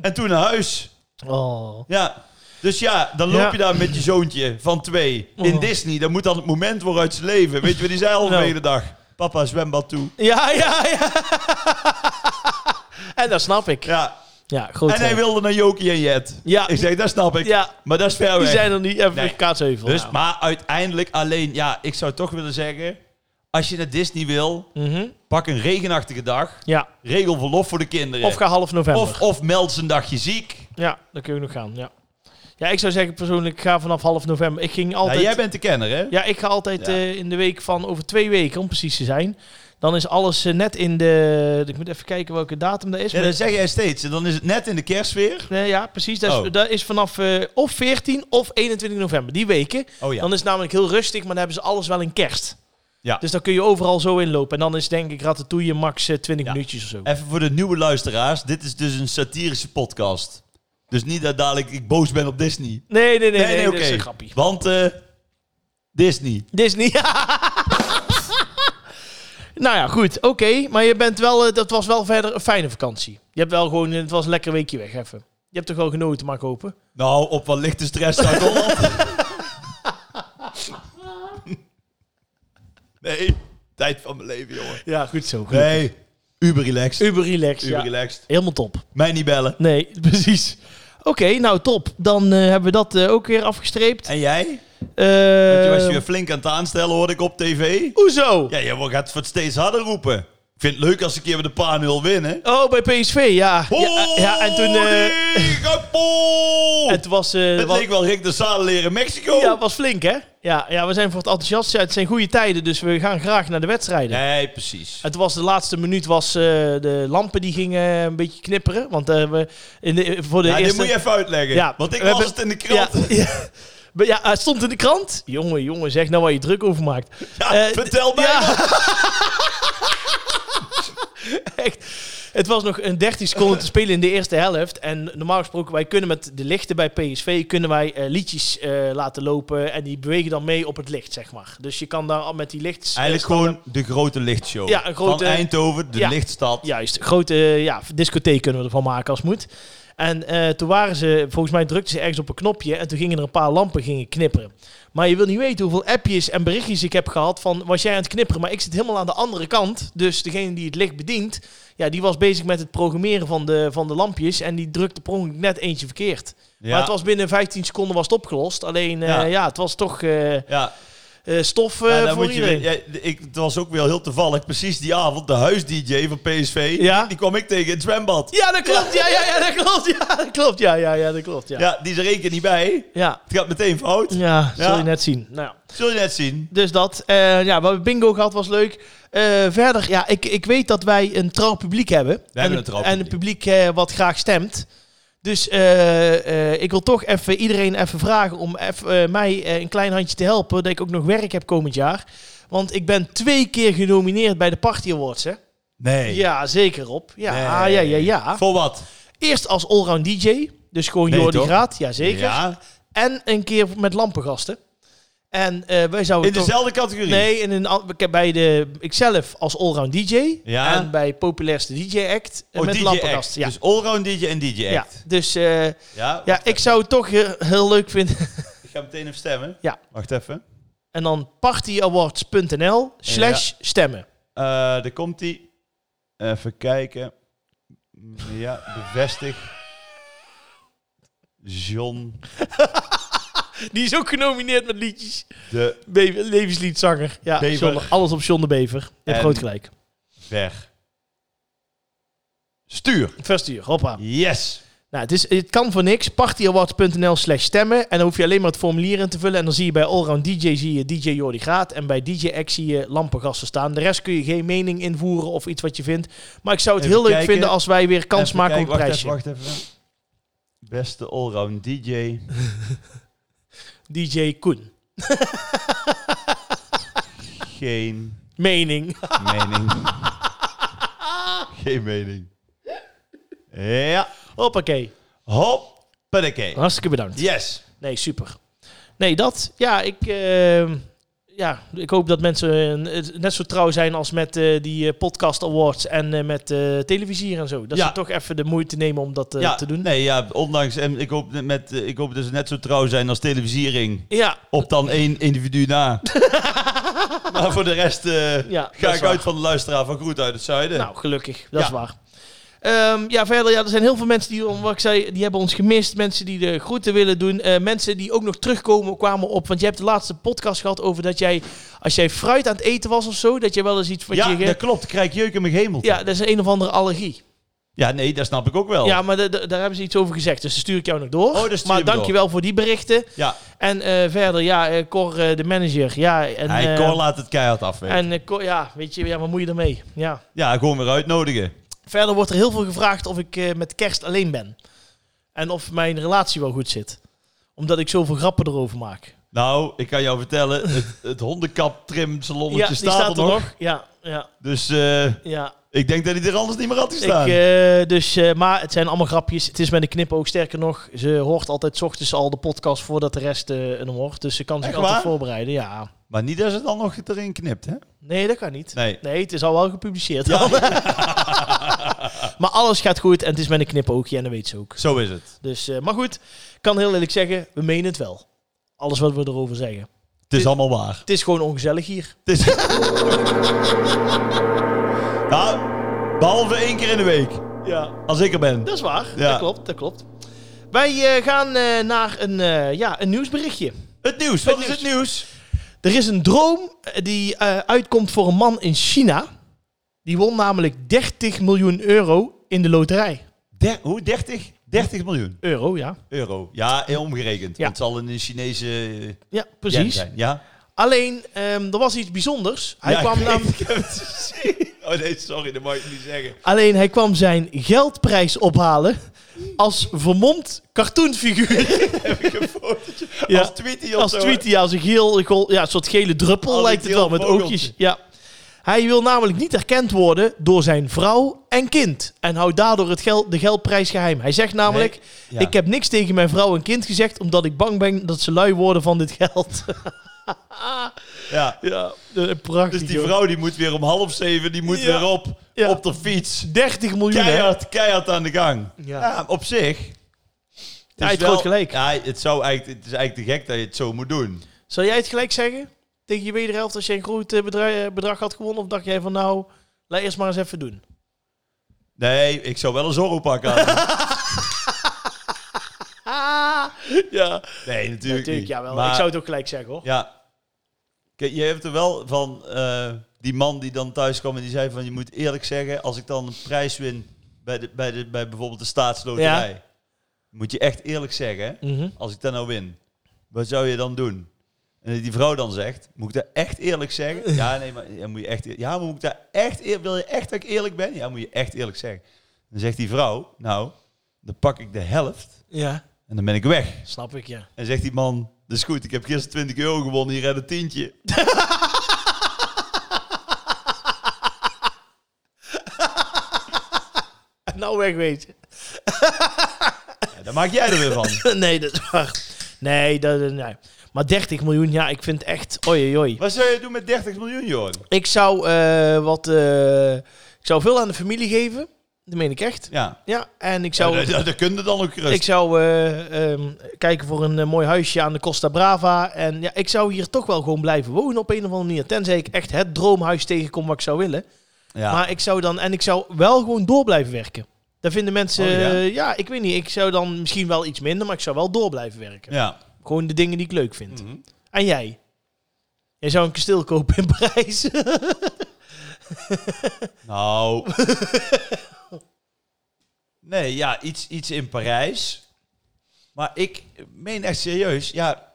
Speaker 2: en toen naar huis.
Speaker 1: Oh.
Speaker 2: Ja. Dus ja, dan loop
Speaker 1: Ja.
Speaker 2: je daar met je zoontje van twee in
Speaker 1: Oh.
Speaker 2: Disney. Dat moet dan het moment worden uit zijn leven. Weet je wat die zei al de
Speaker 1: Nou.
Speaker 2: hele dag? Papa, zwembad toe.
Speaker 1: Ja, ja, ja. *laughs* en dat snap ik. Ja,
Speaker 2: Ja.
Speaker 1: goed.
Speaker 2: En hij
Speaker 1: hè.
Speaker 2: wilde naar Jokie en Jet.
Speaker 1: Ja.
Speaker 2: Ik zeg, dat snap ik.
Speaker 1: Ja,
Speaker 2: Maar dat is ver
Speaker 1: die
Speaker 2: weg.
Speaker 1: zijn er niet. Even
Speaker 2: Nee.
Speaker 1: kaatsheuvel.
Speaker 2: Dus,
Speaker 1: nou.
Speaker 2: maar uiteindelijk alleen, ja, ik zou toch willen zeggen, als je naar Disney wil,
Speaker 1: Mhm.
Speaker 2: pak een regenachtige dag,
Speaker 1: Ja,
Speaker 2: regel verlof voor de kinderen.
Speaker 1: of ga half november.
Speaker 2: of, of meld ze een dagje ziek. Nou,
Speaker 1: Ja, dan kun je nog gaan, ja. Ja, ik zou zeggen persoonlijk, ik ga vanaf half november. Ik ging altijd...
Speaker 2: Nou, jij bent de kenner, hè?
Speaker 1: Ja, ik ga altijd
Speaker 2: Ja.
Speaker 1: eh, in de week van over twee weken, om precies te zijn. Dan is alles eh, net in de... Ik moet even kijken welke datum dat is.
Speaker 2: Ja,
Speaker 1: maar
Speaker 2: dat zeg jij steeds. En dan is het net in de kerstsfeer.
Speaker 1: Nee, Eh, ja, precies. Dat is,
Speaker 2: Oh.
Speaker 1: dat is vanaf eh, of 14 of 21 november, die weken.
Speaker 2: Oh ja.
Speaker 1: Dan is het namelijk heel rustig, maar dan hebben ze alles wel in kerst.
Speaker 2: Ja.
Speaker 1: Dus dan kun je overal zo inlopen. En dan is denk ik Ratatouille max eh, 20
Speaker 2: Ja.
Speaker 1: minuutjes of zo.
Speaker 2: Even voor de nieuwe luisteraars, dit is dus een satirische podcast. Dus niet dat dadelijk ik boos ben op Disney.
Speaker 1: Nee, nee, nee. Nee,
Speaker 2: oké.
Speaker 1: dat is een grappie.
Speaker 2: Want eh, Disney.
Speaker 1: Disney. *laughs* nou ja, goed. Oké. Maar je bent wel, eh, dat was wel verder een fijne vakantie. Je hebt wel gewoon, het was een lekker weekje weg even. Je hebt toch wel genoten, mag ik hopen.
Speaker 2: Nou, op wat lichte stress uit Holland. *laughs* nee, tijd van mijn leven, jongen.
Speaker 1: Ja, goed zo. Goed.
Speaker 2: Nee, uber relaxed.
Speaker 1: Uber relaxed.
Speaker 2: Eh, Uber
Speaker 1: ja.
Speaker 2: relaxed.
Speaker 1: Helemaal top.
Speaker 2: Mij niet bellen.
Speaker 1: Nee, *laughs* precies. Oké, nou top. Dan eh, hebben we dat eh, ook weer afgestreept.
Speaker 2: En jij?
Speaker 1: Eh,
Speaker 2: Je was je weer flink aan het aanstellen, hoorde ik op tv.
Speaker 1: Hoezo?
Speaker 2: Ja, je gaat het steeds harder roepen. Ik vind het leuk als ik een keer met een 0 win, hè?
Speaker 1: Oh, bij PSV, ja. Ja, ja en toen... eh,
Speaker 2: Holy kapoel!
Speaker 1: *laughs* het was... eh,
Speaker 2: Het
Speaker 1: wa-
Speaker 2: leek wel Rick de Zadel leren Mexico.
Speaker 1: ja, het was flink, hè? Ja, ja, we zijn voor het enthousiast. Ja, het zijn goede tijden, dus we gaan graag naar de wedstrijden.
Speaker 2: Nee, precies.
Speaker 1: Het was de laatste minuut was eh, de lampen die gingen eh, een beetje knipperen, want eh, we in de, voor de
Speaker 2: Ja, dit
Speaker 1: eerste.
Speaker 2: moet je even uitleggen.
Speaker 1: Ja,
Speaker 2: want ik
Speaker 1: we
Speaker 2: las
Speaker 1: hebben-
Speaker 2: het in de
Speaker 1: ja,
Speaker 2: krant.
Speaker 1: *laughs* ja, Maar ja, het stond in de krant. Jongen, jongen, zeg nou waar je druk over maakt.
Speaker 2: *laughs* Ja,
Speaker 1: Eh,
Speaker 2: vertel mij.
Speaker 1: ja. *laughs* Echt. Het was nog een 13 seconden te spelen in de eerste helft. En normaal gesproken, wij kunnen met de lichten bij PSV kunnen wij, eh, liedjes eh, laten lopen. En die bewegen dan mee op het licht, zeg maar. Dus je kan daar al met die lichts... eh,
Speaker 2: Eigenlijk gewoon de grote lichtshow.
Speaker 1: Ja, een grote-
Speaker 2: Van Eindhoven, de
Speaker 1: Ja.
Speaker 2: lichtstad.
Speaker 1: Juist, grote eh, ja, discotheek kunnen we ervan maken als moet. En eh, toen waren ze, volgens mij drukten ze ergens op een knopje en toen gingen er een paar lampen gingen knipperen. Maar je wil niet weten hoeveel appjes en berichtjes ik heb gehad van was jij aan het knipperen, maar ik zit helemaal aan de andere kant. Dus degene die het licht bedient, ja, die was bezig met het programmeren van de, van de lampjes en die drukte per ongeluk net eentje verkeerd.
Speaker 2: Ja.
Speaker 1: Maar het was binnen 15 seconden was het opgelost. Alleen eh,
Speaker 2: Ja.
Speaker 1: ja. het was toch eh, eh,
Speaker 2: Ja,
Speaker 1: stof eh,
Speaker 2: ja, dan
Speaker 1: voor
Speaker 2: moet je,
Speaker 1: iedereen.
Speaker 2: ja, ik, het was ook wel heel toevallig. Precies die avond, de huis-dj van PSV,
Speaker 1: Ja.
Speaker 2: die, die kwam ik tegen in het zwembad.
Speaker 1: Ja, dat klopt. Ja, ja, ja, dat klopt. Ja, *laughs* dat klopt. Ja, ja, ja, dat klopt.
Speaker 2: Ja.
Speaker 1: ja.
Speaker 2: die is er één keer niet bij.
Speaker 1: ja.
Speaker 2: Het gaat meteen fout.
Speaker 1: Ja, zul
Speaker 2: Ja.
Speaker 1: je net zien. Nou, ja.
Speaker 2: Zul je net zien.
Speaker 1: dus dat. Eh, ja, we hebben bingo gehad, was leuk. Eh, verder, ja, ik, ik weet dat wij een trouw publiek hebben. We en,
Speaker 2: hebben een trouw
Speaker 1: En een publiek eh, wat graag stemt. Dus eh, eh, ik wil toch even iedereen even vragen om even, eh, mij eh, een klein handje te helpen. Dat ik ook nog werk heb komend jaar. Want ik ben twee keer genomineerd bij de Party Awards, hè?
Speaker 2: Nee.
Speaker 1: Ja, zeker, op Ja,
Speaker 2: Nee.
Speaker 1: ja, ja, ja.
Speaker 2: Voor wat?
Speaker 1: Eerst als allround DJ. Dus gewoon
Speaker 2: Nee,
Speaker 1: Jordi
Speaker 2: toch?
Speaker 1: Graat, ja zeker.
Speaker 2: Ja.
Speaker 1: En een keer met lampengasten. En eh, wij zouden
Speaker 2: In
Speaker 1: toch-
Speaker 2: dezelfde categorie?
Speaker 1: Nee, en in, al- ik heb bij de, ikzelf als allround DJ.
Speaker 2: Ja.
Speaker 1: En bij populairste DJ-act eh,
Speaker 2: Oh,
Speaker 1: met
Speaker 2: DJ act.
Speaker 1: lampengasten. Ja.
Speaker 2: Dus allround DJ en DJ
Speaker 1: ja.
Speaker 2: act.
Speaker 1: Dus eh,
Speaker 2: Ja?
Speaker 1: ja, ik zou het toch eh, heel leuk vinden. *laughs*
Speaker 2: Ik ga meteen even stemmen.
Speaker 1: Ja.
Speaker 2: Wacht even.
Speaker 1: En dan partyawards.nl slash stemmen.
Speaker 2: Eh daar komt ie. Even kijken. Ja, bevestig. John
Speaker 1: Die is ook genomineerd met liedjes.
Speaker 2: de
Speaker 1: Bever, levensliedzanger. Ja,
Speaker 2: Bever.
Speaker 1: John de- alles op John de Bever. Je hebt
Speaker 2: En-
Speaker 1: groot gelijk.
Speaker 2: Ver. Stuur.
Speaker 1: Verstuur, hoppa.
Speaker 2: Yes.
Speaker 1: Nou, het, is, het kan voor niks. Partyawards.nl slash stemmen. En dan hoef je alleen maar het formulier in te vullen. En dan zie je bij Allround DJ zie je DJ Jordi Graat. En bij DJ X zie je lampengasten staan. De rest kun je geen mening invoeren of iets wat je vindt. Maar ik zou het
Speaker 2: Even
Speaker 1: heel leuk
Speaker 2: kijken.
Speaker 1: vinden als wij weer kans
Speaker 2: Even
Speaker 1: maken
Speaker 2: kijken,
Speaker 1: op een
Speaker 2: wacht
Speaker 1: prijsje.
Speaker 2: Even, wacht even. Beste allround DJ.
Speaker 1: DJ Koen.
Speaker 2: Geen *laughs*
Speaker 1: Mening. *laughs*
Speaker 2: mening. Geen mening. Ja.
Speaker 1: Hoppakee.
Speaker 2: Hoppakee.
Speaker 1: Hartstikke bedankt.
Speaker 2: Yes.
Speaker 1: Nee, super. Nee, dat. Ja, ik, eh, ja, ik hoop dat mensen eh, net zo trouw zijn als met eh, die eh, podcast awards en eh, met eh, televisie hier en zo. Dat
Speaker 2: Ja.
Speaker 1: ze toch even de moeite nemen om dat eh,
Speaker 2: ja,
Speaker 1: te doen.
Speaker 2: Nee, ja, ondanks. En ik hoop, net met, eh, ik hoop dat ze net zo trouw zijn als televisiering.
Speaker 1: Ja,
Speaker 2: Op dan één
Speaker 1: *laughs*
Speaker 2: individu na. maar voor de rest eh,
Speaker 1: Ja, dat
Speaker 2: ga
Speaker 1: is
Speaker 2: ik
Speaker 1: waar.
Speaker 2: uit van de luisteraar van Groet uit het Zuiden.
Speaker 1: nou gelukkig. Dat is
Speaker 2: Ja.
Speaker 1: waar. Ehm, ja, verder, ja, er zijn heel veel mensen die, om- wat ik zei, die hebben ons gemist. Mensen die de groeten willen doen. Eh, mensen die ook nog terugkomen kwamen op. Want je hebt de laatste podcast gehad over dat jij, als jij fruit aan het eten was of zo, dat je wel eens iets wat
Speaker 2: ja,
Speaker 1: je... ge-
Speaker 2: dat klopt. Ik Krijg jeuk in mijn hemel.
Speaker 1: ja, dat is een of andere allergie.
Speaker 2: Ja, nee, dat snap ik ook wel.
Speaker 1: Ja, maar da- da- daar hebben ze iets over gezegd. Dus dan stuur ik jou nog door.
Speaker 2: dat Oh. stuur je
Speaker 1: maar
Speaker 2: me
Speaker 1: dank
Speaker 2: door.
Speaker 1: je wel voor die berichten.
Speaker 2: Ja,
Speaker 1: En eh, verder, ja, eh, Cor, eh, de manager. Ja, en,
Speaker 2: hij
Speaker 1: eh,
Speaker 2: kon laat het keihard afweten.
Speaker 1: en eh, Cor, ja, weet je, ja, wat moet je ermee? Ja.
Speaker 2: Ja, gewoon weer uitnodigen.
Speaker 1: Verder wordt er heel veel gevraagd of ik eh, met kerst alleen ben. En of mijn relatie wel goed zit. Omdat ik zoveel grappen erover maak.
Speaker 2: Nou, ik kan
Speaker 1: *laughs*
Speaker 2: jou vertellen, het, het hondenkap trim salonnetje
Speaker 1: die
Speaker 2: staat, er nog.
Speaker 1: Ja, ja,
Speaker 2: Dus eh,
Speaker 1: ja.
Speaker 2: ik denk dat hij er anders niet meer had
Speaker 1: Ik,
Speaker 2: gestaan.
Speaker 1: eh, dus, eh, maar het zijn allemaal grapjes. Het is met een knipoog. Sterker nog, ze hoort altijd 's ochtends al de podcast voordat de rest eh, hem hoort. Dus ze kan zich
Speaker 2: Echt
Speaker 1: altijd
Speaker 2: waar?
Speaker 1: voorbereiden. Ja.
Speaker 2: Maar niet dat ze dan nog erin knipt, hè?
Speaker 1: Nee, dat kan niet. *laughs*
Speaker 2: Nee.
Speaker 1: Nee, het is al wel gepubliceerd. *laughs* maar alles gaat goed en het is met een knipoogje en dat weet ze ook.
Speaker 2: Zo is het.
Speaker 1: Dus, eh, maar goed, ik kan heel eerlijk zeggen, we menen het wel. Alles wat we erover zeggen.
Speaker 2: Het is allemaal waar.
Speaker 1: Het is gewoon ongezellig hier.
Speaker 2: Het is... *laughs* nou, behalve één keer in de week.
Speaker 1: Ja.
Speaker 2: Als ik er ben.
Speaker 1: Dat is waar,
Speaker 2: Ja.
Speaker 1: dat klopt, dat klopt. Wij eh, gaan eh, naar een, eh, ja, een nieuwsberichtje.
Speaker 2: Het nieuws. Wat
Speaker 1: Het
Speaker 2: is het nieuws?
Speaker 1: Er is een droom eh, die eh, uitkomt voor een man in China. Die won namelijk 30 miljoen euro in de loterij.
Speaker 2: Der- hoe? 30? 30 miljoen
Speaker 1: Euro, ja.
Speaker 2: euro. Ja, en omgerekend.
Speaker 1: Ja.
Speaker 2: Want het zal in de Chinese eh,
Speaker 1: Ja,
Speaker 2: yen
Speaker 1: precies.
Speaker 2: zijn. Ja?
Speaker 1: Alleen, ehm, er was iets bijzonders. Hij
Speaker 2: Ja,
Speaker 1: kwam
Speaker 2: ik weet-
Speaker 1: nam-
Speaker 2: *laughs* ik heb het gezien. Oh nee, sorry, dat mag ik niet zeggen.
Speaker 1: Alleen, hij kwam zijn geldprijs ophalen als vermomd cartoonfiguur.
Speaker 2: een fotootje.
Speaker 1: Ja.
Speaker 2: Als tweetie of
Speaker 1: als
Speaker 2: zo.
Speaker 1: Tweety, als een geel, gol- ja, een soort gele druppel
Speaker 2: Als een
Speaker 1: lijkt het wel,
Speaker 2: geel
Speaker 1: met
Speaker 2: vogeltje.
Speaker 1: oogjes. Ja. Hij wil namelijk niet herkend worden door zijn vrouw en kind. En houdt daardoor het geld, de geldprijs geheim. Hij zegt namelijk,
Speaker 2: ja.
Speaker 1: ik heb niks tegen mijn vrouw en kind gezegd... omdat ik bang ben dat ze lui worden van dit geld.
Speaker 2: Ja.
Speaker 1: *laughs* ja, eh, prachtig.
Speaker 2: Dus die
Speaker 1: joh.
Speaker 2: vrouw die moet weer om half zeven, die moet
Speaker 1: Ja.
Speaker 2: weer op,
Speaker 1: Ja.
Speaker 2: op de fiets.
Speaker 1: 30 miljoen, hè?
Speaker 2: Keihard, keihard aan de gang.
Speaker 1: Ja.
Speaker 2: Ja, op zich. Het
Speaker 1: hij
Speaker 2: is
Speaker 1: heeft groot gelijk.
Speaker 2: Ja, het, zou eigenlijk, het is eigenlijk te gek dat je het zo moet doen.
Speaker 1: Zou jij het gelijk zeggen tegen je wederhelft als je een groot eh, bedra- eh, bedrag had gewonnen? Of dacht jij van nou, laat eerst maar eens even doen?
Speaker 2: Nee, ik zou wel een zorro
Speaker 1: *laughs*
Speaker 2: pakken. aan.
Speaker 1: Ah, *laughs* ja.
Speaker 2: nee, natuurlijk
Speaker 1: Natuurlijk,
Speaker 2: niet.
Speaker 1: ja wel.
Speaker 2: Maar,
Speaker 1: Ik zou het ook gelijk zeggen hoor.
Speaker 2: Ja. Kijk, je hebt er wel van eh, die man die dan thuis kwam en die zei van... je moet eerlijk zeggen, als ik dan een prijs win bij, de, bij, de, bij bijvoorbeeld de staatsloterij... moet je echt eerlijk zeggen... hè?
Speaker 1: Mhm.
Speaker 2: als ik dat nou win, wat zou je dan doen? En dat die vrouw dan zegt, moet ik dat echt eerlijk zeggen? Ja, nee, maar ja, moet je echt, eer- ja, maar moet ik dat echt eer- wil je echt dat ik eerlijk ben? Ja, moet je echt eerlijk zeggen. Dan zegt die vrouw, nou, dan pak ik de helft
Speaker 1: Ja,
Speaker 2: en dan ben ik weg.
Speaker 1: snap ik ja. *laughs*
Speaker 2: En zegt die man, dat is goed, ik heb gisteren 20 euro gewonnen, hier heb een tientje.
Speaker 1: Nou wegwezen. Nou,
Speaker 2: Ja, daar maak jij er weer van.
Speaker 1: *laughs* nee, dat is waar. Nee, dat, eh, nee. Maar 30 miljoen, ja, ik vind echt... Oei, oei.
Speaker 2: Wat zou je doen met 30 miljoen, Johan?
Speaker 1: Ik zou eh, wat... eh, ik zou veel aan de familie geven. Dat meen ik echt.
Speaker 2: Ja.
Speaker 1: Ja, en ik
Speaker 2: Zou...
Speaker 1: zou...
Speaker 2: Ja, dat, dat kun je dan ook gerust.
Speaker 1: Ik zou eh, ehm, kijken voor een eh, mooi huisje aan de Costa Brava. En ja, ik zou hier toch wel gewoon blijven wonen op een of andere manier. Tenzij ik echt het droomhuis tegenkom wat ik zou willen.
Speaker 2: Ja.
Speaker 1: Maar ik zou dan, en ik zou wel gewoon door blijven werken. Dat vinden mensen,
Speaker 2: Oh, ja.
Speaker 1: eh, ja, ik weet niet. Ik zou dan misschien wel iets minder, maar ik zou wel door blijven werken.
Speaker 2: ja.
Speaker 1: Gewoon de dingen die ik leuk vind.
Speaker 2: Mhm.
Speaker 1: En jij? Jij zou een kasteel kopen in Parijs.
Speaker 2: Nou. *laughs* nee, ja, iets, iets in Parijs. Maar ik meen echt serieus, ja,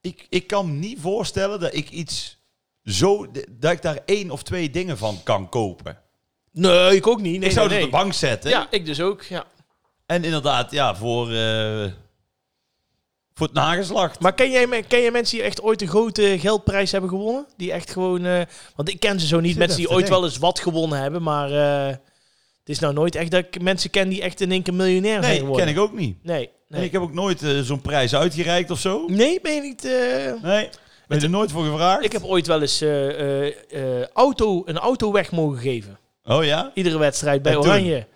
Speaker 2: ik, ik kan me niet voorstellen dat ik iets zo, dat ik daar één of twee dingen van kan kopen.
Speaker 1: nee, ik ook niet. Nee,
Speaker 2: ik zou
Speaker 1: nee,
Speaker 2: het op de bank zetten.
Speaker 1: nee. Ja, ik dus ook, ja.
Speaker 2: En inderdaad, ja, voor, eh, voor het nageslacht.
Speaker 1: Maar ken jij, me- ken jij mensen die echt ooit een grote geldprijs hebben gewonnen? Die echt gewoon... eh, want ik ken ze zo niet.
Speaker 2: Zit
Speaker 1: mensen
Speaker 2: even
Speaker 1: die
Speaker 2: te
Speaker 1: ooit
Speaker 2: denken.
Speaker 1: wel eens wat gewonnen hebben. Maar eh, het is nou nooit echt dat ik mensen ken die echt in één keer miljonair zijn
Speaker 2: nee,
Speaker 1: geworden.
Speaker 2: ken ik ook niet.
Speaker 1: Nee,
Speaker 2: En
Speaker 1: nee.
Speaker 2: ik heb ook nooit eh, zo'n prijs uitgereikt of zo.
Speaker 1: Nee, ben je niet... eh,
Speaker 2: Nee, ben je er nooit voor gevraagd?
Speaker 1: Ik heb ooit wel eens eh, eh, eh, auto, een auto weg mogen geven.
Speaker 2: Oh ja?
Speaker 1: Iedere wedstrijd bij
Speaker 2: En toen?
Speaker 1: Oranje.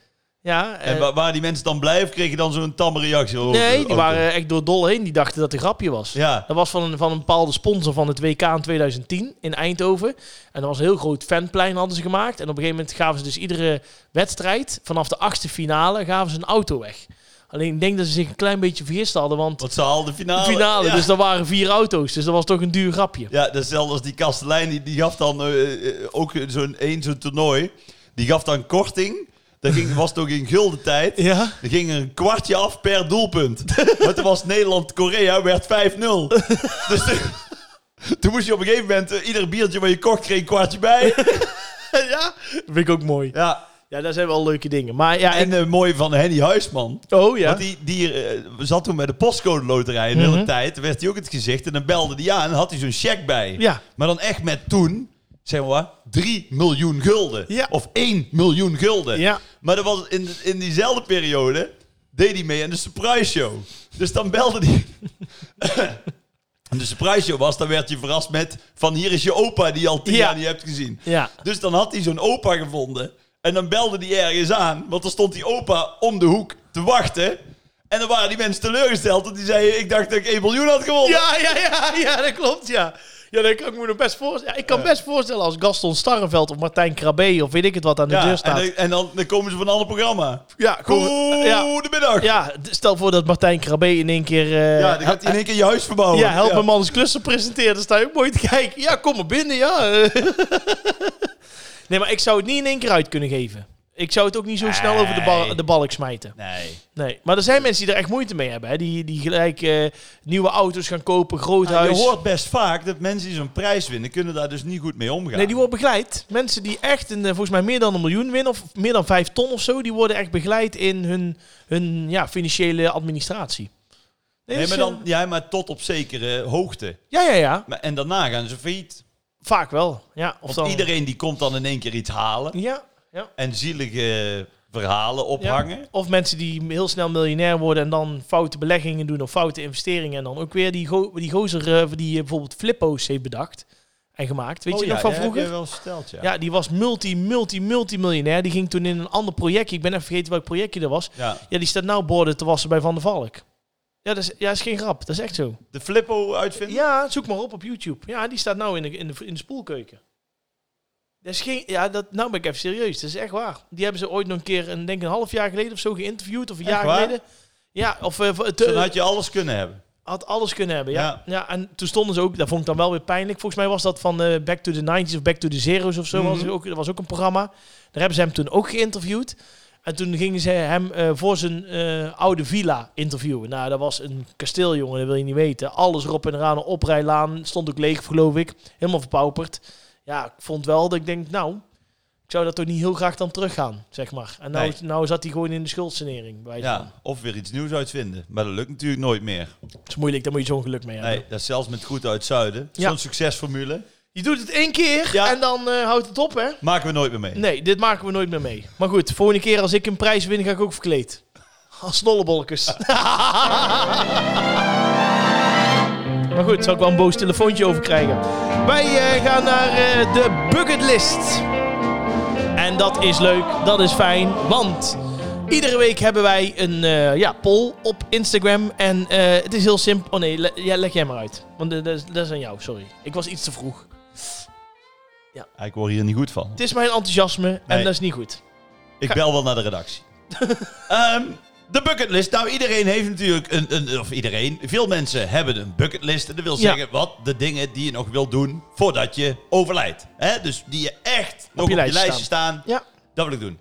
Speaker 1: Ja, eh,
Speaker 2: en wa- waren die mensen dan blij of kreeg je dan zo'n tamme reactie? over de
Speaker 1: nee, die
Speaker 2: auto?
Speaker 1: waren echt door dol heen. Die dachten dat het een grapje was.
Speaker 2: Ja,
Speaker 1: Dat was van een, van een bepaalde sponsor van het WK in 2010 in Eindhoven. En dat was een heel groot fanplein hadden ze gemaakt. En op een gegeven moment gaven ze dus iedere wedstrijd, vanaf de achtste finale, gaven ze een auto weg. Alleen ik denk dat ze zich een klein beetje vergist hadden, want
Speaker 2: want ze haalden de
Speaker 1: de
Speaker 2: finale.
Speaker 1: finale,
Speaker 2: ja.
Speaker 1: dus dat waren vier auto's. Dus dat was toch een duur grapje.
Speaker 2: Ja, dat is hetzelfde als die kastelein, die, die gaf dan eh, eh, ook zo'n één zo'n toernooi. Die gaf dan korting. Dat ging, was toch in gulden tijd.
Speaker 1: Ja?
Speaker 2: Er ging er een kwartje af per doelpunt. Maar toen was Nederland-Korea, werd 5-0. Dus toen, toen moest je op een gegeven moment... eh, ieder biertje wat je kocht kreeg een kwartje bij.
Speaker 1: ja? Dat vind ik ook mooi.
Speaker 2: Ja,
Speaker 1: Ja, dat zijn wel leuke dingen. Maar ja,
Speaker 2: en
Speaker 1: ik-
Speaker 2: eh mooi van Henny Huisman.
Speaker 1: oh ja.
Speaker 2: Want die, die eh, zat toen met de postcode loterij een hele
Speaker 1: Mhm.
Speaker 2: tijd. Toen werd hij ook het gezicht. En dan belde hij aan en had hij zo'n cheque bij.
Speaker 1: Ja.
Speaker 2: Maar dan echt met toen, zeg maar, wat, 3 miljoen gulden.
Speaker 1: Ja.
Speaker 2: Of 1 miljoen gulden.
Speaker 1: Ja.
Speaker 2: Maar dat was in, in diezelfde periode deed hij mee aan de surprise show. Dus dan belde hij. *laughs* En de surprise show was, dan werd je verrast met van hier is je opa die je al tien
Speaker 1: Ja.
Speaker 2: jaar niet hebt gezien.
Speaker 1: Ja.
Speaker 2: Dus dan had hij zo'n opa gevonden. En dan belde die ergens aan, want dan stond die opa om de hoek te wachten. En dan waren die mensen teleurgesteld, want die zeiden, ik dacht dat ik 1 miljoen had gewonnen.
Speaker 1: Ja, ja, ja, ja, dat klopt, ja. Ja, dat kan ik me nog best voorstellen. Ja, ik kan best voorstellen als Gaston Starrenveld of Martijn Krabbe of weet ik het wat aan de
Speaker 2: Ja,
Speaker 1: deur
Speaker 2: en,
Speaker 1: staat.
Speaker 2: dan, en dan, dan komen ze van een ander programma.
Speaker 1: ja, gewoon- ja,
Speaker 2: Goedemiddag. Ja,
Speaker 1: ja, d- stel voor dat Martijn Krabbe in één keer... eh,
Speaker 2: dan gaat hij in één keer je huis verbouwen.
Speaker 1: ja, help me man eens klussen presenteren. Dan sta je ook mooi te kijken. Ja, kom maar binnen, ja. *laughs* eh. nee, maar ik zou het niet in één keer uit kunnen geven. Ik zou het ook niet zo snel over de, bal,
Speaker 2: Nee.
Speaker 1: de balk smijten.
Speaker 2: Nee.
Speaker 1: Nee, maar er zijn mensen die er echt moeite mee hebben. Hè? Die, die gelijk eh, nieuwe auto's gaan kopen, groot
Speaker 2: Nou, je
Speaker 1: huis.
Speaker 2: hoort best vaak dat mensen die zo'n prijs winnen, kunnen daar dus niet goed mee omgaan.
Speaker 1: Nee, die worden begeleid. Mensen die echt een, eh, volgens mij meer dan een miljoen winnen, of meer dan vijf ton of zo, die worden echt begeleid in hun, hun ja, financiële administratie. Nee,
Speaker 2: Nee,
Speaker 1: dus,
Speaker 2: maar dan,
Speaker 1: eh,
Speaker 2: ja, maar tot op zekere hoogte.
Speaker 1: Ja, ja, ja.
Speaker 2: Maar, en daarna gaan ze failliet.
Speaker 1: Vaak wel. Ja, of
Speaker 2: Want
Speaker 1: dan...
Speaker 2: iedereen die komt dan in één keer iets halen.
Speaker 1: Ja, ja.
Speaker 2: En zielige verhalen
Speaker 1: ja.
Speaker 2: ophangen.
Speaker 1: Of mensen die heel snel miljonair worden en dan foute beleggingen doen of foute investeringen. En dan ook weer die, go die gozer eh, die eh, bijvoorbeeld Flippo's heeft bedacht en gemaakt. Weet
Speaker 2: Oh
Speaker 1: je
Speaker 2: ja,
Speaker 1: nog van
Speaker 2: die
Speaker 1: vroeger?
Speaker 2: Heb je wel verteld, ja.
Speaker 1: Ja, die was multi, multi, multimiljonair. Die ging toen in een ander projectje. Ik ben even vergeten welk projectje dat was.
Speaker 2: Ja.
Speaker 1: Ja, die staat nou borden te wassen bij Van der Valk. Ja, dat is, ja, dat is geen grap. Dat is echt zo.
Speaker 2: De Flippo uitvinden?
Speaker 1: Ja, zoek maar op op YouTube. Ja, die staat nou in de, in de, in de spoelkeuken. Dat is geen, ja, dat, nou ben ik even serieus. Dat is echt waar. Die hebben ze ooit nog een keer, een, denk een half jaar geleden of zo, geïnterviewd. Of een
Speaker 2: Echt
Speaker 1: jaar
Speaker 2: waar? nou
Speaker 1: geleden. Ja, of eh, v- te-
Speaker 2: Dan had je alles kunnen hebben.
Speaker 1: had alles kunnen hebben. Ja.
Speaker 2: Ja.
Speaker 1: ja. en toen stonden ze ook, dat vond ik dan wel weer pijnlijk. Volgens mij was dat van eh, Back to the 90s of Back to the Zeros of zo.
Speaker 2: Mhm.
Speaker 1: was er ook, dat was ook een programma. Daar hebben ze hem toen ook geïnterviewd. En toen gingen ze hem eh, voor zijn eh, oude villa interviewen. Nou, dat was een kasteel, jongen, dat wil je niet weten. Alles erop en eraan, een oprijlaan. Stond ook leeg, geloof ik. Helemaal verpauperd. Ja, ik vond wel dat ik denk, nou, ik zou dat toch niet heel graag dan teruggaan, zeg maar. En nou,
Speaker 2: Nee.
Speaker 1: nou zat hij gewoon in de schuldsanering. Bij ja.
Speaker 2: Ja. Of weer iets nieuws uitvinden. Maar dat lukt natuurlijk nooit meer.
Speaker 1: Dat is moeilijk, daar moet je zo'n geluk mee hebben.
Speaker 2: Nee, dat is zelfs met goed uit Zuiden.
Speaker 1: Ja.
Speaker 2: Zo'n succesformule
Speaker 1: Je doet het één keer
Speaker 2: Ja.
Speaker 1: en dan eh, houdt het op, hè?
Speaker 2: maken we nooit meer mee.
Speaker 1: Nee, dit maken we nooit meer mee. Maar goed, volgende keer als ik een prijs win, ga ik ook verkleed. Als snollebolkes. *laughs* Maar goed, zal ik wel een boos telefoontje over krijgen. Wij eh, gaan naar eh, de bucketlist. En dat is leuk, dat is fijn, want iedere week hebben wij een eh, ja, poll op Instagram. En eh, het is heel simpel. Oh nee, le- ja, leg jij maar uit. Want eh, dat is- dat is aan jou, sorry. Ik was iets te vroeg.
Speaker 2: Ik word hier niet goed van.
Speaker 1: Het is mijn enthousiasme en
Speaker 2: Nee.
Speaker 1: dat is niet goed.
Speaker 2: Ik bel wel naar de
Speaker 1: *laughs*
Speaker 2: redactie. Ehm, de bucketlist. Nou, iedereen heeft natuurlijk een, een... Of iedereen. Veel mensen hebben een bucketlist. En dat wil
Speaker 1: Ja.
Speaker 2: zeggen wat de dingen die je nog wil doen voordat je overlijdt. Hè? Dus die je echt nog op je
Speaker 1: lijstje
Speaker 2: lijstje staan.
Speaker 1: Ja.
Speaker 2: Dat wil ik doen.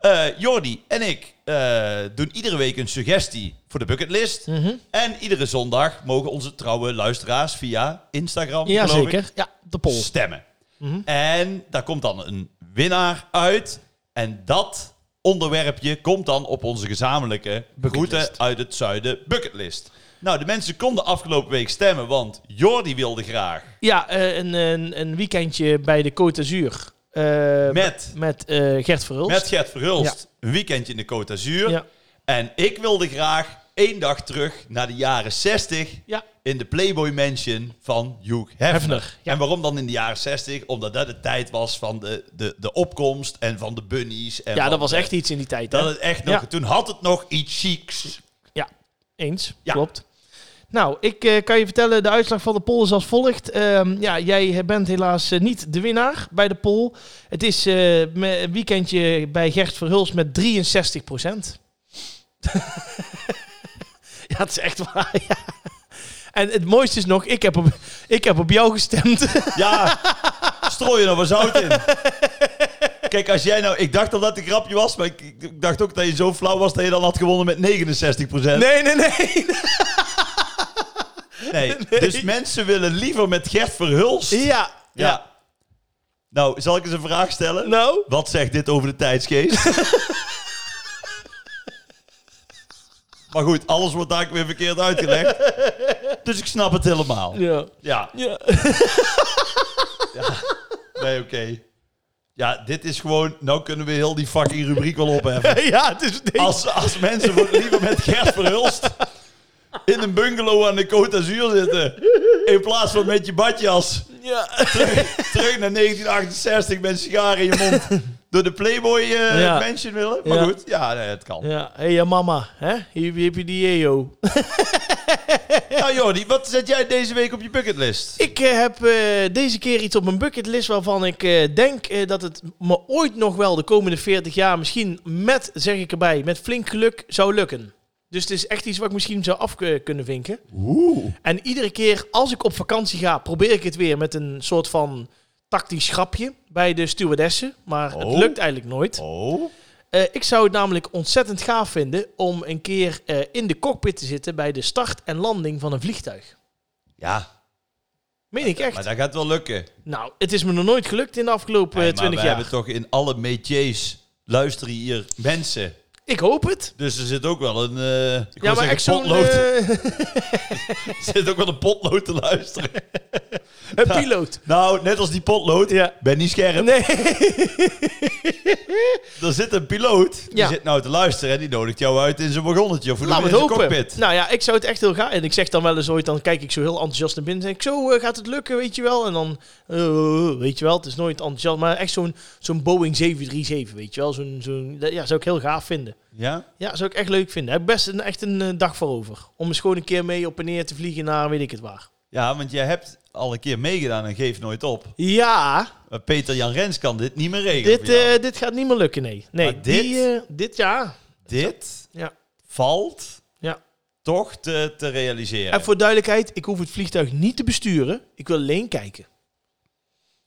Speaker 2: Eh, Jordi en ik eh, doen iedere week een suggestie voor de bucketlist.
Speaker 1: Mhm.
Speaker 2: En iedere zondag mogen onze trouwe luisteraars via Instagram
Speaker 1: Ja,
Speaker 2: geloof ik,
Speaker 1: zeker. Ja, de poll.
Speaker 2: stemmen.
Speaker 1: Mhm.
Speaker 2: En daar komt dan een winnaar uit. En dat onderwerpje komt dan op onze gezamenlijke
Speaker 1: Bucketlist.
Speaker 2: groeten uit het zuiden bucketlist. Nou, de mensen konden afgelopen week stemmen, want Jordi wilde graag
Speaker 1: Ja, eh, een, een, een weekendje bij de Côte d'Azur. eh,
Speaker 2: met,
Speaker 1: met eh, Gert Verhulst.
Speaker 2: met Gert Verhulst een weekendje in de Côte d'Azur.
Speaker 1: Ja.
Speaker 2: En ik wilde graag één dag terug naar de jaren 60
Speaker 1: Ja.
Speaker 2: in de Playboy Mansion van Hugh Hefner.
Speaker 1: Hefner, ja.
Speaker 2: En waarom dan in de jaren 60? Omdat dat de tijd was van de, de, de opkomst en van de bunnies. En
Speaker 1: ja,
Speaker 2: van
Speaker 1: dat was
Speaker 2: de-
Speaker 1: echt iets in die tijd.
Speaker 2: Dat
Speaker 1: hè?
Speaker 2: het echt nog,
Speaker 1: Ja.
Speaker 2: Toen had het nog iets chics.
Speaker 1: Ja, eens.
Speaker 2: Ja.
Speaker 1: Klopt. Nou, ik eh, kan je vertellen, de uitslag van de poll is als volgt. Ehm, ja, jij bent helaas eh, niet de winnaar bij de poll. Het is eh, me- een weekendje bij Gert Verhulst met 63 *laughs* ja, het is echt waar. *laughs* Ja. En het mooiste is nog, ik heb op, ik heb op jou gestemd. *laughs*
Speaker 2: Ja, *laughs* strooi er nog wat zout in. Kijk, als jij nou... Ik dacht dat dat een grapje was, maar ik, ik dacht ook dat je zo flauw was dat je dan had gewonnen met 69
Speaker 1: nee, nee, nee. *laughs*
Speaker 2: Nee. Dus mensen willen liever met Gert Verhulst.
Speaker 1: Ja,
Speaker 2: Ja. Nou, zal ik eens een vraag stellen?
Speaker 1: nou.
Speaker 2: Wat zegt dit over
Speaker 1: *laughs*
Speaker 2: de tijdsgeest? maar goed, alles wordt daar weer verkeerd uitgelegd. Dus ik snap het helemaal.
Speaker 1: Ja.
Speaker 2: Ja,
Speaker 1: ja. *laughs*
Speaker 2: nee, oké. Ja, dit is gewoon... Nou kunnen we heel die fucking rubriek wel opheffen.
Speaker 1: Ja, het is deze.
Speaker 2: Als, als mensen voor het liever met Gert Verhulst in een bungalow aan de Côte d'Azur zitten... in plaats van met je badjas
Speaker 1: Ja.
Speaker 2: *laughs* terug naar 1968 met een sigaar in je mond door de Playboy eh
Speaker 1: Ja.
Speaker 2: Mansion willen. Maar
Speaker 1: Ja.
Speaker 2: goed, ja, nee, het kan.
Speaker 1: Ja, hé hey, ja, mama, hè? Hier heb je die E EO.
Speaker 2: Nou Jordi, wat zet jij deze week op je bucketlist?
Speaker 1: Ik eh, heb eh, deze keer iets op mijn bucketlist waarvan ik eh, denk eh, dat het me ooit nog wel de komende 40 jaar misschien met, zeg ik erbij, met flink geluk zou lukken. Dus het is echt iets wat ik misschien zou af eh, kunnen vinken.
Speaker 2: Oeh.
Speaker 1: En iedere keer als ik op vakantie ga, probeer ik het weer met een soort van tactisch grapje bij de stewardessen. Maar het
Speaker 2: Oh.
Speaker 1: lukt eigenlijk nooit.
Speaker 2: Oh.
Speaker 1: Eh, ik zou het namelijk ontzettend gaaf vinden om een keer eh, in de cockpit te zitten bij de start en landing van een vliegtuig.
Speaker 2: Ja,
Speaker 1: Meen ik echt.
Speaker 2: maar dat gaat wel lukken.
Speaker 1: Nou, het is me nog nooit gelukt in de afgelopen
Speaker 2: Nee,
Speaker 1: eh,
Speaker 2: maar
Speaker 1: 20
Speaker 2: we
Speaker 1: jaar.
Speaker 2: hebben toch in alle métiers luisteren hier mensen.
Speaker 1: Ik hoop het.
Speaker 2: Dus er zit ook wel een, eh ik
Speaker 1: Ja, maar
Speaker 2: wou zeggen
Speaker 1: echt zo'n
Speaker 2: potlood.
Speaker 1: eh,
Speaker 2: *laughs* Er zit ook wel een potlood te
Speaker 1: *laughs*
Speaker 2: luisteren.
Speaker 1: een piloot.
Speaker 2: Nou, net als die potlood,
Speaker 1: Ja.
Speaker 2: ben niet scherp.
Speaker 1: Nee.
Speaker 2: Er zit een piloot, die
Speaker 1: Ja.
Speaker 2: zit nou te luisteren en die nodigt jou uit in zijn wagonnetje of hoe
Speaker 1: Laten *laughs*
Speaker 2: noem
Speaker 1: we
Speaker 2: je
Speaker 1: het
Speaker 2: het in zijn
Speaker 1: hopen.
Speaker 2: cockpit.
Speaker 1: Nou ja, ik zou het echt heel gaaf... En ik zeg dan wel eens ooit, dan kijk ik zo heel enthousiast naar binnen. en Zeg ik, zo eh, gaat het lukken, weet je wel. En dan, eh, weet je wel, het is nooit enthousiast. Maar echt zo'n zo'n Boeing 737, weet je wel. Zo'n, zo'n, dat- ja, zou ik heel gaaf vinden.
Speaker 2: Ja?
Speaker 1: Ja, zou ik echt leuk vinden. Daar heb ik best een, echt een eh, dag voor over. Om eens gewoon een keer mee op en neer te vliegen naar weet ik het waar.
Speaker 2: Ja, want jij hebt al een keer meegedaan en geeft nooit op.
Speaker 1: Ja,
Speaker 2: Maar Peter Jan Rens kan dit niet meer regelen.
Speaker 1: dit,
Speaker 2: voor jou.
Speaker 1: eh, dit gaat niet meer lukken, nee. nee
Speaker 2: Maar dit?
Speaker 1: Die, eh, dit ja.
Speaker 2: dit
Speaker 1: ja.
Speaker 2: valt
Speaker 1: Ja.
Speaker 2: toch te, te realiseren.
Speaker 1: En voor duidelijkheid, ik hoef het vliegtuig niet te besturen. Ik wil alleen kijken.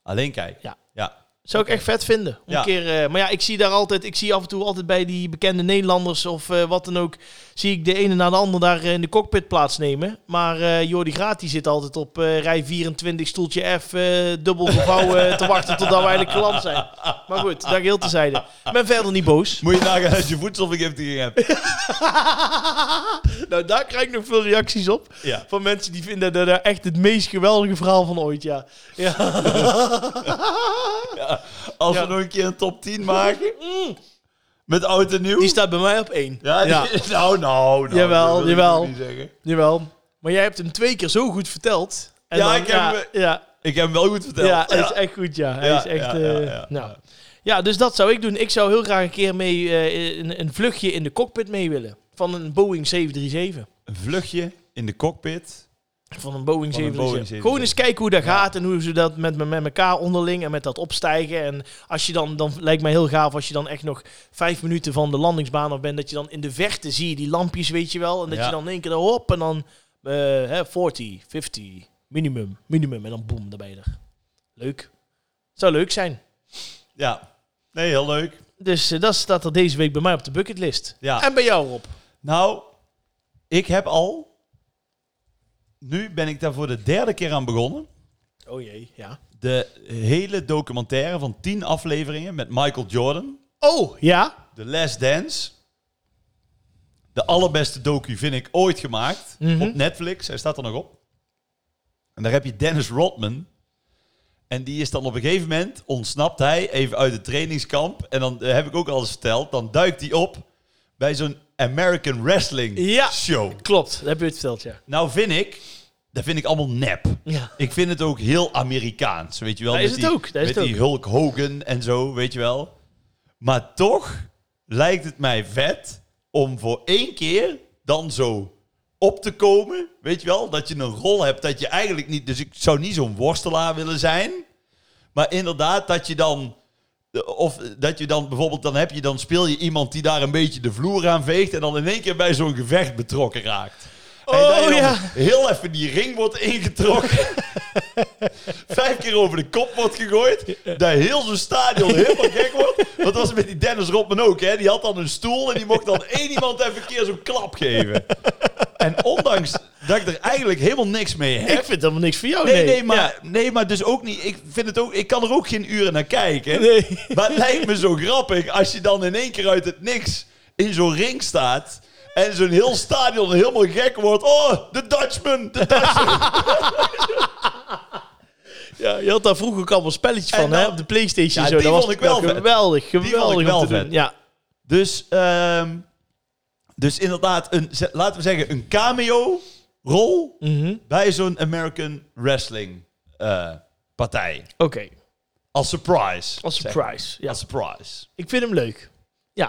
Speaker 2: Alleen kijken.
Speaker 1: Ja.
Speaker 2: ja.
Speaker 1: Zou ik echt vet vinden. Om
Speaker 2: Ja.
Speaker 1: Een keer, eh, maar ja, ik zie daar altijd, ik zie af en toe altijd bij die bekende Nederlanders of eh, wat dan ook, zie ik de ene na de ander daar eh, in de cockpit plaatsnemen. Maar eh Jordi Graat die zit altijd op eh, rij 24, stoeltje F, eh, dubbel gevouwen, eh, te wachten totdat we eigenlijk geland zijn. Maar goed, daar heel tezijde. Ik ben verder niet boos.
Speaker 2: Moet je nagaan als je voedselvergiftiging
Speaker 1: *laughs*
Speaker 2: hebt.
Speaker 1: nou, daar krijg ik nog veel reacties op.
Speaker 2: Ja.
Speaker 1: Van mensen die vinden dat daar echt het meest geweldige verhaal van ooit, ja. Ja,
Speaker 2: Als
Speaker 1: Ja. Mm.
Speaker 2: we nog een keer een top 10 maken. Met oud en nieuw.
Speaker 1: die staat bij mij op één.
Speaker 2: ja, die- *laughs* nou, nou, nou.
Speaker 1: Jawel,
Speaker 2: dat wil ik
Speaker 1: jawel.
Speaker 2: ook niet zeggen.
Speaker 1: Jawel. Maar jij hebt hem twee keer zo goed verteld. En
Speaker 2: Ja,
Speaker 1: dan-
Speaker 2: ik heb
Speaker 1: ja,
Speaker 2: hem-
Speaker 1: ja,
Speaker 2: Ik heb hem wel goed verteld.
Speaker 1: ja, hij is echt goed, ja. Hij
Speaker 2: Ja,
Speaker 1: is echt,
Speaker 2: ja,
Speaker 1: eh,
Speaker 2: ja, ja,
Speaker 1: nou.
Speaker 2: ja.
Speaker 1: ja, dus dat zou ik doen. Ik zou heel graag een keer mee eh, een, een vluchtje in de cockpit mee willen. Van een Boeing 737.
Speaker 2: Een vluchtje in de cockpit.
Speaker 1: Van een Boeing
Speaker 2: Van een
Speaker 1: 737.
Speaker 2: Boeing 737.
Speaker 1: Gewoon eens kijken hoe dat gaat en hoe ze dat met, met elkaar onderling en met dat opstijgen. En als je dan, dan lijkt mij heel gaaf als je dan echt nog vijf minuten van de landingsbaan af bent. Dat je dan in de verte zie je die lampjes, weet je wel. En dat
Speaker 2: Ja.
Speaker 1: je dan in één keer hop en dan eh, hè, 40, 50, minimum, minimum. En dan boem, daar ben je er. Leuk. Zou leuk zijn.
Speaker 2: Ja. Nee, heel leuk.
Speaker 1: Dus eh, dat staat er deze week bij mij op de bucketlist.
Speaker 2: Ja.
Speaker 1: En bij jou, Rob.
Speaker 2: Nou, ik heb al... Nu ben ik daar voor de derde keer aan begonnen.
Speaker 1: Oh jee, ja.
Speaker 2: De hele documentaire van tien afleveringen met Michael Jordan.
Speaker 1: Oh, ja?
Speaker 2: The Last Dance. De allerbeste docu vind ik ooit gemaakt.
Speaker 1: Mhm.
Speaker 2: Op Netflix. Hij staat er nog op. En daar heb je Dennis Rodman. En die is dan op een gegeven moment, ontsnapt hij even uit het trainingskamp. En dan eh, heb ik ook al eens verteld, dan duikt hij op bij zo'n American Wrestling
Speaker 1: Ja.
Speaker 2: show.
Speaker 1: Klopt, dat heb je het verteld, ja.
Speaker 2: Nou vind ik, dat vind ik allemaal nep.
Speaker 1: Ja.
Speaker 2: Ik vind het ook heel Amerikaans, weet je wel.
Speaker 1: Dat
Speaker 2: met
Speaker 1: is het
Speaker 2: die-
Speaker 1: ook, dat is
Speaker 2: met
Speaker 1: het
Speaker 2: die Hulk Hogan en zo, weet je wel. Maar toch lijkt het mij vet om voor één keer dan zo op te komen. Weet je wel, dat je een rol hebt dat je eigenlijk niet... Dus ik zou niet zo'n worstelaar willen zijn. Maar inderdaad, dat je dan... Of dat je dan bijvoorbeeld, dan heb je, dan speel je iemand die daar een beetje de vloer aan veegt. En dan in één keer bij zo'n gevecht betrokken raakt. en dat je
Speaker 1: Oh,
Speaker 2: dan
Speaker 1: ja.
Speaker 2: heel even die ring wordt ingetrokken. vijf keer over de kop wordt gegooid. Dat heel zo'n stadion helemaal gek wordt. Want dat was met die Dennis Rodman ook, hè. Die had dan een stoel en die mocht dan één iemand even een keer zo'n klap geven. En ondanks dat ik er eigenlijk helemaal niks mee heb.
Speaker 1: *laughs* Ik vind helemaal niks voor jou,
Speaker 2: Nee, nee, maar,
Speaker 1: Ja.
Speaker 2: nee, maar dus ook niet. Ik vind het ook. Ik kan er ook geen uren naar kijken.
Speaker 1: Nee.
Speaker 2: Maar het lijkt me zo grappig als je dan in één keer uit het niks in zo'n ring staat. En zo'n heel stadion helemaal gek wordt. Oh, de Dutchman, de Dutchman.
Speaker 1: Ja, je had daar vroeger ook allemaal spelletjes
Speaker 2: En
Speaker 1: van, hè?
Speaker 2: dan-
Speaker 1: Op de Playstation.
Speaker 2: Ja,
Speaker 1: zo.
Speaker 2: die
Speaker 1: dat
Speaker 2: vond
Speaker 1: was
Speaker 2: ik wel vet.
Speaker 1: geweldig,
Speaker 2: ik
Speaker 1: geweldig om
Speaker 2: wel
Speaker 1: te doen.
Speaker 2: vet.
Speaker 1: Ja.
Speaker 2: Dus, ehm, dus inderdaad, een, ze- laten we zeggen, een cameo-rol
Speaker 1: Mhm.
Speaker 2: bij zo'n American Wrestling eh, partij.
Speaker 1: Oké,
Speaker 2: Als surprise.
Speaker 1: als
Speaker 2: zeg.
Speaker 1: surprise. Ja.
Speaker 2: Als surprise.
Speaker 1: Ik vind hem leuk. Ja,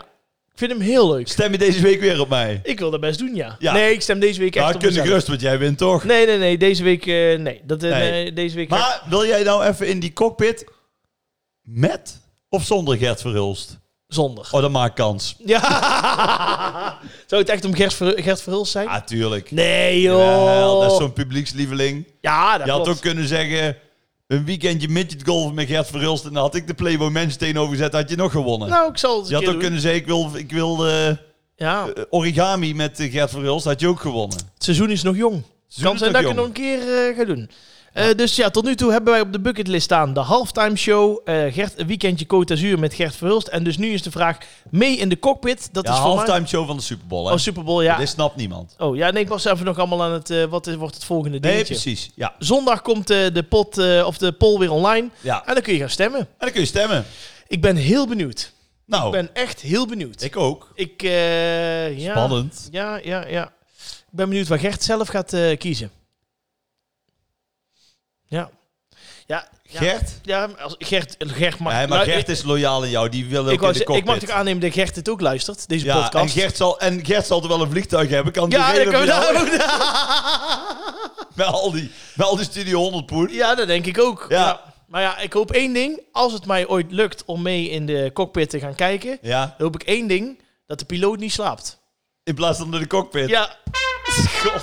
Speaker 1: ik vind hem heel leuk.
Speaker 2: Stem je deze week weer op mij?
Speaker 1: Ik wil dat best doen, ja.
Speaker 2: Ja.
Speaker 1: Nee, ik stem deze week echt
Speaker 2: Ja,
Speaker 1: op
Speaker 2: kun je
Speaker 1: mezelf.
Speaker 2: gerust, want jij wint toch?
Speaker 1: Nee, nee, nee. Deze week... eh, nee. Dat, eh,
Speaker 2: Nee.
Speaker 1: nee, deze week...
Speaker 2: Maar wil jij nou even in die cockpit met of zonder Gert Verhulst?
Speaker 1: Zondag.
Speaker 2: Oh, dat maakt kans.
Speaker 1: Ja. *laughs* Zou het echt om Gert, Ver, Gert Verhulst zijn?
Speaker 2: Ah, tuurlijk.
Speaker 1: Nee, joh.
Speaker 2: Jawel, dat is zo'n publiekslieveling.
Speaker 1: ja, dat
Speaker 2: Je had
Speaker 1: klopt.
Speaker 2: ook kunnen zeggen, een weekendje midget golf met Gert Verhulst... en dan had ik de Playboy Mansion tegenovergezet, had je nog gewonnen.
Speaker 1: Nou, ik zal het
Speaker 2: je
Speaker 1: een
Speaker 2: had
Speaker 1: keer
Speaker 2: ook
Speaker 1: doen.
Speaker 2: kunnen zeggen, ik wil, ik wil eh, eh,
Speaker 1: Ja, het
Speaker 2: origami met eh, Gert Verhulst, had je ook gewonnen.
Speaker 1: seizoen is nog jong. Kan
Speaker 2: is
Speaker 1: zijn
Speaker 2: nog
Speaker 1: dat ik het nog
Speaker 2: jong.
Speaker 1: een keer eh, ga doen. Eh, dus ja, tot nu toe hebben wij op de bucketlist staan de halftime show, eh Gert, een weekendje Côte d'Azur met Gert Verhulst. En dus nu is de vraag, mee in de cockpit, dat
Speaker 2: Ja,
Speaker 1: is voor mij...
Speaker 2: halftime show van de Super Bowl, hè?
Speaker 1: Oh, Super Bowl, ja.
Speaker 2: Dit snapt niemand.
Speaker 1: Oh ja, nee, ik was even nog allemaal aan het, eh, wat is, wordt het volgende
Speaker 2: Nee,
Speaker 1: dingetje.
Speaker 2: precies. Ja.
Speaker 1: Zondag komt eh, de pot eh, of de poll weer online
Speaker 2: ja. En
Speaker 1: en dan kun je gaan stemmen.
Speaker 2: dan kun je stemmen.
Speaker 1: Ik ben heel benieuwd.
Speaker 2: Nou,
Speaker 1: Ik ben echt heel benieuwd.
Speaker 2: ik ook.
Speaker 1: Ik, eh, ja,
Speaker 2: Spannend.
Speaker 1: Ja, ja, ja. Ik ben benieuwd wat Gert zelf gaat eh, kiezen. Ja. Ja, ja.
Speaker 2: Gert?
Speaker 1: Ja, als Gert, Gert mag...
Speaker 2: Nee, maar
Speaker 1: Nou,
Speaker 2: Gert is loyaal aan jou. Die wil ook
Speaker 1: ik, ik, wou
Speaker 2: in de
Speaker 1: zeggen, ik
Speaker 2: cockpit.
Speaker 1: mag toch aannemen dat Gert het ook luistert, deze
Speaker 2: ja, en
Speaker 1: podcast?
Speaker 2: Gert, zal, en Gert zal er wel een vliegtuig hebben.
Speaker 1: *laughs*
Speaker 2: Kan
Speaker 1: ja,
Speaker 2: diegene
Speaker 1: dan kunnen we
Speaker 2: bij jou-
Speaker 1: daar ook-
Speaker 2: Bij al die, bij al die Studio 100 poen.
Speaker 1: Ja, dat denk ik ook.
Speaker 2: Ja.
Speaker 1: Maar ja, ik hoop één ding. Als het mij ooit lukt om mee in de cockpit te gaan kijken, dan
Speaker 2: Ja,
Speaker 1: hoop ik één ding. Dat de piloot niet slaapt.
Speaker 2: in plaats van naar de cockpit.
Speaker 1: Ja.
Speaker 2: *laughs* God.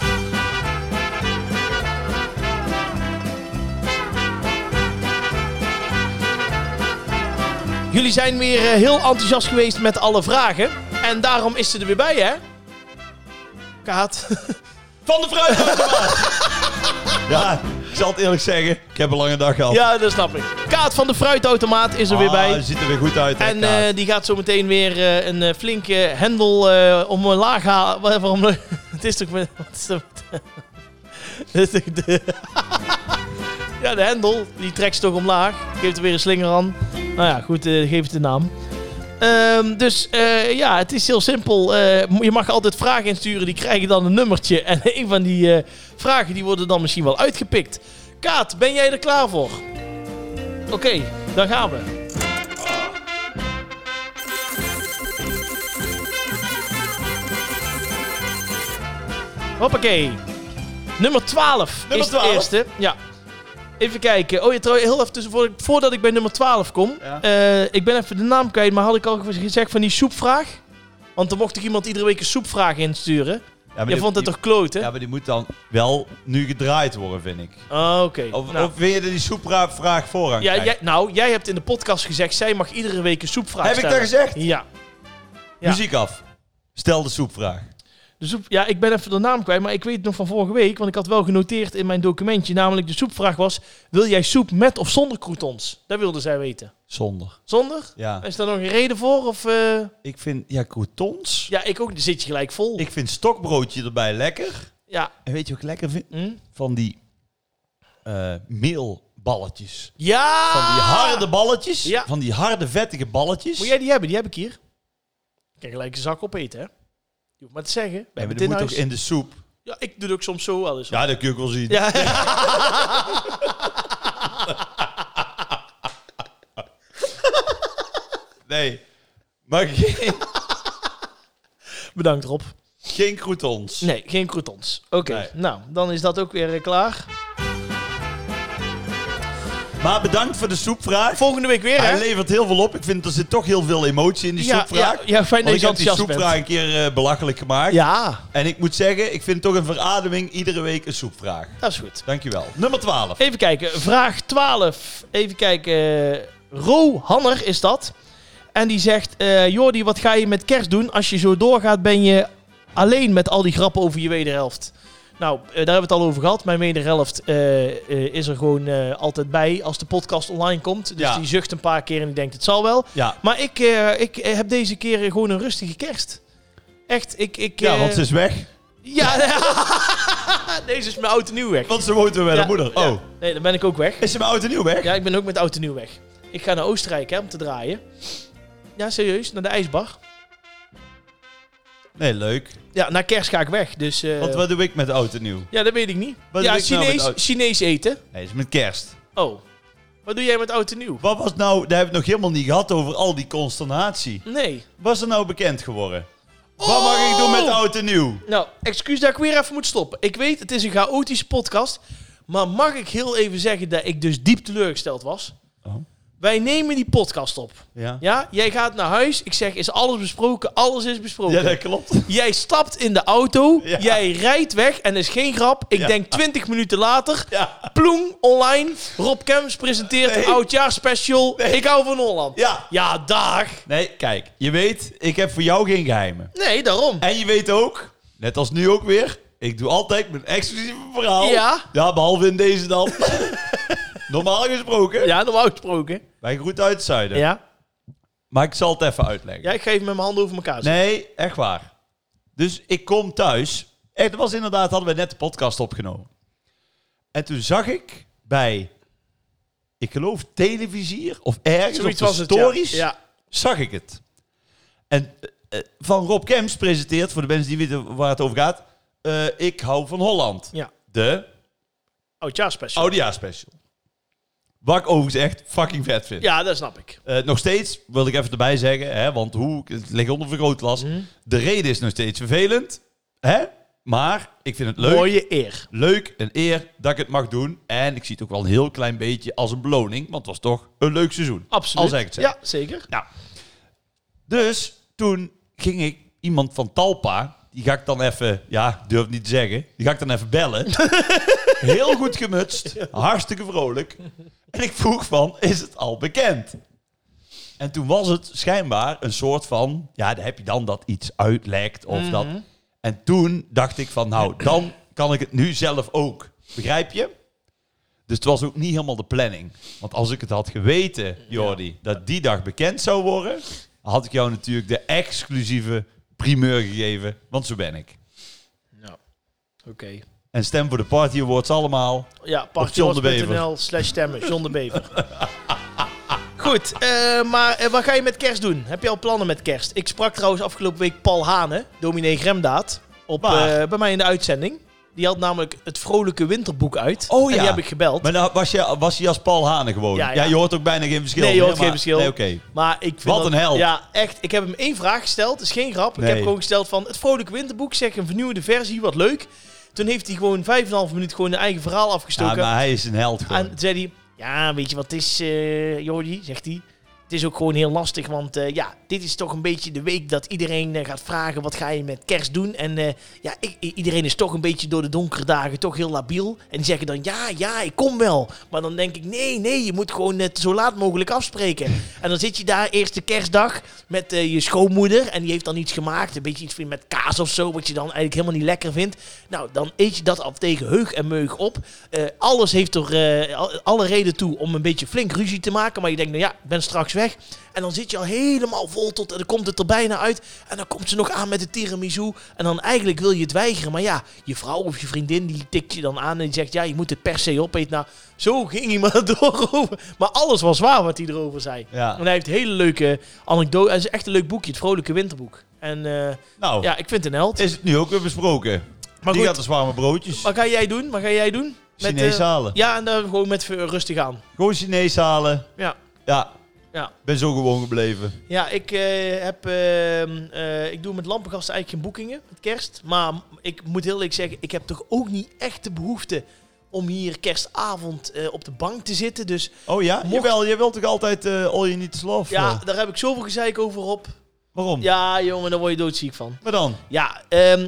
Speaker 1: Jullie zijn weer eh, heel enthousiast geweest met alle vragen. En daarom is ze er weer bij, hè? Kaat. *laughs*
Speaker 2: Van de fruitautomaat.
Speaker 1: *laughs*
Speaker 2: ja, ik zal het eerlijk zeggen. Ik heb een lange dag gehad.
Speaker 1: Ja, dat snap ik. Kaat van de fruitautomaat is er weer
Speaker 2: Ah, je
Speaker 1: bij.
Speaker 2: ziet er weer goed uit. hè,
Speaker 1: En
Speaker 2: Kaat.
Speaker 1: eh, die gaat zo meteen weer eh, een eh, flinke hendel eh, omlaag halen. *laughs* Wa- Waarom? Het is toch... met- *laughs* Wat is dat? met- Het is toch de... *laughs* Ja, de hendel. Die trekt ze toch omlaag. Geeft er weer een slinger aan. Nou ja, goed. eh geef het de naam. Ehm, dus eh, ja, het is heel simpel. Eh, mo- je mag altijd vragen insturen, die krijgen dan een nummertje. En *laughs* een van die eh, vragen die worden dan misschien wel uitgepikt. Kaat, ben jij er klaar voor? Oké, dan gaan we. Hoppakee. Nummer 12
Speaker 2: Nummer
Speaker 1: is de
Speaker 2: 12?
Speaker 1: eerste. Ja. Even kijken. Oh ja, trouw- heel even tussen, voor- voordat ik bij nummer 12 kom.
Speaker 2: Ja.
Speaker 1: Eh, ik ben even de naam kwijt, maar had ik al gezegd van die soepvraag? Want dan mocht ik iemand iedere week een soepvraag insturen.
Speaker 2: maar
Speaker 1: Je
Speaker 2: die-
Speaker 1: vond het
Speaker 2: die-
Speaker 1: toch kloot, hè?
Speaker 2: Ja, maar die moet dan wel nu gedraaid worden, vind ik.
Speaker 1: Ah, Oké.
Speaker 2: Of,
Speaker 1: Nou,
Speaker 2: of wil je dat die soepvraag voorrang
Speaker 1: ja,
Speaker 2: krijgt?
Speaker 1: jij, nou, jij hebt in de podcast gezegd, zij mag iedere week een soepvraag
Speaker 2: Heb ik
Speaker 1: stellen.
Speaker 2: dat gezegd?
Speaker 1: Ja. ja.
Speaker 2: Muziek af. Stel de soepvraag.
Speaker 1: De soep, ja, ik ben even de naam kwijt, maar ik weet het nog van vorige week. Want ik had wel genoteerd in mijn documentje. Namelijk, de soepvraag was, wil jij soep met of zonder croutons? Dat wilde zij weten.
Speaker 2: Zonder.
Speaker 1: Zonder?
Speaker 2: Ja.
Speaker 1: Is daar nog een reden voor? Of, eh,
Speaker 2: Ik vind, ja, croutons.
Speaker 1: Ja, ik ook. Dan zit je gelijk vol.
Speaker 2: Ik vind stokbroodje erbij lekker.
Speaker 1: Ja.
Speaker 2: En weet je wat ik lekker vind?
Speaker 1: Hm?
Speaker 2: Van die eh, meelballetjes.
Speaker 1: Ja!
Speaker 2: Van die harde balletjes.
Speaker 1: Ah. Ja.
Speaker 2: Van die harde, vettige balletjes.
Speaker 1: Moet jij die hebben? Die heb ik hier. Kijk, gelijk een zak opeten, hè? Je hoeft maar te zeggen. We nou
Speaker 2: en
Speaker 1: hebben
Speaker 2: die
Speaker 1: het in
Speaker 2: moet ook
Speaker 1: huis.
Speaker 2: in de soep.
Speaker 1: Ja, ik doe het ook soms zo wel eens.
Speaker 2: Ja, dat kun je ook wel zien.
Speaker 1: Ja.
Speaker 2: *laughs* Nee. Maar *laughs* geen,
Speaker 1: Bedankt, Rob.
Speaker 2: geen croutons.
Speaker 1: Nee, geen croutons. Oké,
Speaker 2: Nee.
Speaker 1: nou, dan is dat ook weer eh, klaar.
Speaker 2: Maar bedankt voor de soepvraag.
Speaker 1: Volgende week weer,
Speaker 2: Hij
Speaker 1: hè?
Speaker 2: levert heel veel op. Ik vind er zit toch heel veel emotie in die
Speaker 1: Ja,
Speaker 2: soepvraag.
Speaker 1: ja, ja, fijn dat je
Speaker 2: Want ik heb die
Speaker 1: enthousiast
Speaker 2: soepvraag
Speaker 1: bent.
Speaker 2: een keer eh, belachelijk gemaakt.
Speaker 1: Ja,
Speaker 2: En ik moet zeggen, ik vind toch een verademing iedere week een soepvraag.
Speaker 1: dat is goed.
Speaker 2: Dankjewel. Nummer 12.
Speaker 1: Even kijken, vraag 12. Even kijken. eh, Ro Hanner is dat. En die zegt: eh Jordi, wat ga je met kerst doen? Als je zo doorgaat, ben je alleen met al die grappen over je wederhelft. Nou, eh, daar hebben we het al over gehad. Mijn wederhelft eh, eh, is er gewoon eh, altijd bij als de podcast online komt. Dus
Speaker 2: Ja.
Speaker 1: die zucht een paar keer en die denkt: het zal wel.
Speaker 2: Ja.
Speaker 1: Maar ik, eh, ik eh, heb deze keer gewoon een rustige kerst. Echt, ik. ik
Speaker 2: Ja,
Speaker 1: eh,
Speaker 2: want ze is weg.
Speaker 1: Ja, *laughs* deze is mijn oud en nieuw weg.
Speaker 2: Want ze woont weer bij
Speaker 1: Ja,
Speaker 2: haar moeder.
Speaker 1: ja.
Speaker 2: Oh,
Speaker 1: Nee, dan ben ik ook weg.
Speaker 2: is ze bij oud en nieuw weg?
Speaker 1: Ja, ik ben ook met oud en nieuw weg. Ik ga naar Oostenrijk hè, om te draaien. Ja, serieus, naar de ijsbar.
Speaker 2: Nee, leuk.
Speaker 1: Ja, na kerst ga ik weg, dus... eh,
Speaker 2: Want wat doe ik met oud en nieuw?
Speaker 1: Ja, dat weet ik niet.
Speaker 2: Wat
Speaker 1: ja,
Speaker 2: doe ik nou met
Speaker 1: Chinees,
Speaker 2: oud-
Speaker 1: Chinees eten.
Speaker 2: Nee, is met kerst.
Speaker 1: Oh, wat doe jij met oud en nieuw?
Speaker 2: Wat was nou, daar hebben we het nog helemaal niet gehad over al die consternatie.
Speaker 1: Nee.
Speaker 2: Was er nou bekend geworden? Wat mag ik doen met oud en nieuw?
Speaker 1: Nou, excuus dat ik weer even moet stoppen. Ik weet, het is een chaotische podcast. Maar mag ik heel even zeggen dat ik dus diep teleurgesteld was?
Speaker 2: Oh.
Speaker 1: Wij nemen die podcast op.
Speaker 2: Ja.
Speaker 1: Ja, jij gaat naar huis. Ik zeg, is alles besproken? Alles is besproken.
Speaker 2: Ja, dat klopt. *laughs*
Speaker 1: Jij stapt in de auto,
Speaker 2: Ja.
Speaker 1: jij rijdt weg en is geen grap. Ik
Speaker 2: Ja.
Speaker 1: denk 20 minuten later,
Speaker 2: Ja.
Speaker 1: ploem, online. Rob Kemps presenteert
Speaker 2: Nee.
Speaker 1: oudjaarspecial. Ik hou van Holland.
Speaker 2: Ja.
Speaker 1: Ja, dag.
Speaker 2: Nee, kijk, je weet, ik heb voor jou geen geheimen.
Speaker 1: Nee, daarom.
Speaker 2: En je weet ook, net als nu ook weer, ik doe altijd mijn exclusieve verhaal.
Speaker 1: Ja.
Speaker 2: Ja, behalve in deze *laughs* dan. Normaal gesproken.
Speaker 1: Ja, normaal gesproken.
Speaker 2: Wij groeten uit het zuiden.
Speaker 1: Ja.
Speaker 2: Maar ik zal het even uitleggen.
Speaker 1: ja, ik geef met mijn handen over elkaar.
Speaker 2: Nee, echt waar. Dus ik kom thuis. En Het was inderdaad, hadden we net de podcast opgenomen. En toen zag ik bij, ik geloof televisier of ergens
Speaker 1: Zoiets
Speaker 2: op de
Speaker 1: was het, ja.
Speaker 2: stories,
Speaker 1: Ja.
Speaker 2: zag ik het. En eh, eh, van Rob Kemps presenteert, voor de mensen die weten waar het over gaat, eh, Ik hou van Holland.
Speaker 1: ja.
Speaker 2: De
Speaker 1: Oudjaarspecial.
Speaker 2: Oudejaarsspecial. Wat ik overigens echt fucking vet vind.
Speaker 1: Oh, Ja, dat snap ik.
Speaker 2: Eh, nog steeds, wil ik even erbij zeggen, hè, want hoe, het ligt onder vergrootglas.
Speaker 1: Mhm.
Speaker 2: De reden is nog steeds vervelend, hè? maar ik vind het leuk.
Speaker 1: Mooie eer.
Speaker 2: Leuk, een eer dat ik het mag doen. En ik zie het ook wel een heel klein beetje als een beloning, want het was toch een leuk seizoen.
Speaker 1: Absoluut.
Speaker 2: Al zeg ik het. zeg.
Speaker 1: Ja, zeker.
Speaker 2: Nou, dus toen ging ik iemand van Talpa, die ga ik dan even, ja, durf het niet te zeggen, die ga ik dan even bellen. Heel goed gemutst, hartstikke vrolijk. En ik vroeg van, is het al bekend? En toen was het schijnbaar een soort van, ja, dan heb je dan dat iets uitlekt of dat. En toen dacht ik van, nou, dan kan ik het nu zelf ook. Begrijp je? Dus het was ook niet helemaal de planning. Want als ik het had geweten, Jordi, dat die dag bekend zou worden, had ik jou natuurlijk de exclusieve primeur gegeven. Want zo ben ik.
Speaker 1: Ja. Oké.
Speaker 2: En stem voor de Party Awards allemaal.
Speaker 1: Ja,
Speaker 2: John de Bever. *laughs*
Speaker 1: partyoors.nl slash stemmen. John de Bever. Goed, eh, maar eh, wat ga je met kerst doen? Heb je al plannen met kerst? Ik sprak trouwens afgelopen week Paul Hane, dominee Gremdaad, op,
Speaker 2: Waar?
Speaker 1: eh, bij mij in de uitzending. Die had namelijk het vrolijke winterboek uit.
Speaker 2: Oh
Speaker 1: En
Speaker 2: ja.
Speaker 1: die heb ik gebeld.
Speaker 2: Maar nou, was, je, was hij als Paul Hane gewoon?
Speaker 1: Ja,
Speaker 2: Ja,
Speaker 1: ja.
Speaker 2: je hoort ook bijna geen verschil.
Speaker 1: Nee, je hoort
Speaker 2: meer,
Speaker 1: geen
Speaker 2: maar-
Speaker 1: verschil.
Speaker 2: Nee, oké.
Speaker 1: Maar ik vind
Speaker 2: Wat
Speaker 1: dat-
Speaker 2: een held.
Speaker 1: Ja, echt. Ik heb hem één vraag gesteld. is geen grap. Ik
Speaker 2: Nee.
Speaker 1: heb gewoon gesteld van het vrolijke winterboek. Zeg een vernieuwde versie. Wat leuk. Toen heeft hij gewoon 5,5 minuut gewoon een eigen verhaal
Speaker 2: Ja,
Speaker 1: afgestoken.
Speaker 2: maar hij is een held
Speaker 1: en
Speaker 2: gewoon.
Speaker 1: toen zei hij... Ja, weet je wat het is, eh Jordi? Zegt hij. Het is ook gewoon heel lastig. Want eh, ja, dit is toch een beetje de week dat iedereen eh, gaat vragen... wat ga je met kerst doen? En eh, ja, ik, i- iedereen is toch een beetje door de donkere dagen toch heel labiel. En die zeggen dan, ja, ja, ik kom wel. Maar dan denk ik, nee, nee, je moet gewoon net zo laat mogelijk afspreken. En dan zit je daar eerste kerstdag met eh, je schoonmoeder. En die heeft dan iets gemaakt, een beetje iets met kaas of zo... wat je dan eigenlijk helemaal niet lekker vindt. Nou, dan eet je dat af tegen heug en meug op. Eh, alles heeft er eh, al- alle reden toe om een beetje flink ruzie te maken. Maar je denkt, nou ja, ik ben straks weg. En dan zit je al helemaal vol tot... en dan komt het er bijna uit. En dan komt ze nog aan met de tiramisu. En dan eigenlijk wil je het weigeren. Maar ja, je vrouw of je vriendin die tikt je dan aan en die zegt... ja, je moet het per se opeten. Nou, zo ging hij maar *laughs* door. over. Maar alles was waar wat hij erover zei.
Speaker 2: Ja.
Speaker 1: En hij heeft hele leuke anekdotes. Het is echt een leuk boekje, het Vrolijke Winterboek. En eh,
Speaker 2: Nou,
Speaker 1: ja, ik vind het een held.
Speaker 2: is het nu ook weer besproken.
Speaker 1: Maar
Speaker 2: die
Speaker 1: goed.
Speaker 2: gaat de warme broodjes.
Speaker 1: Wat ga jij doen? Wat ga jij doen? eh,
Speaker 2: Chinees halen.
Speaker 1: ja, en dan gewoon met eh, rustig aan.
Speaker 2: Gewoon Chinees halen.
Speaker 1: Ja.
Speaker 2: Ja.
Speaker 1: Ja.
Speaker 2: Ben zo gewoon gebleven.
Speaker 1: Ja, ik eh, heb. ehm, eh, ik doe met lampengasten eigenlijk geen boekingen met kerst. Maar ik moet heel eerlijk zeggen, ik heb toch ook niet echt de behoefte om hier kerstavond eh, op de bank te zitten. Dus
Speaker 2: Oh ja?
Speaker 1: Mocht-
Speaker 2: Jawel, jij wilt toch altijd eh all you need is love?
Speaker 1: ja,
Speaker 2: eh?
Speaker 1: daar heb ik zoveel gezeik over op.
Speaker 2: Waarom?
Speaker 1: Ja, jongen, daar word je doodziek van.
Speaker 2: Maar dan?
Speaker 1: Ja, ehm,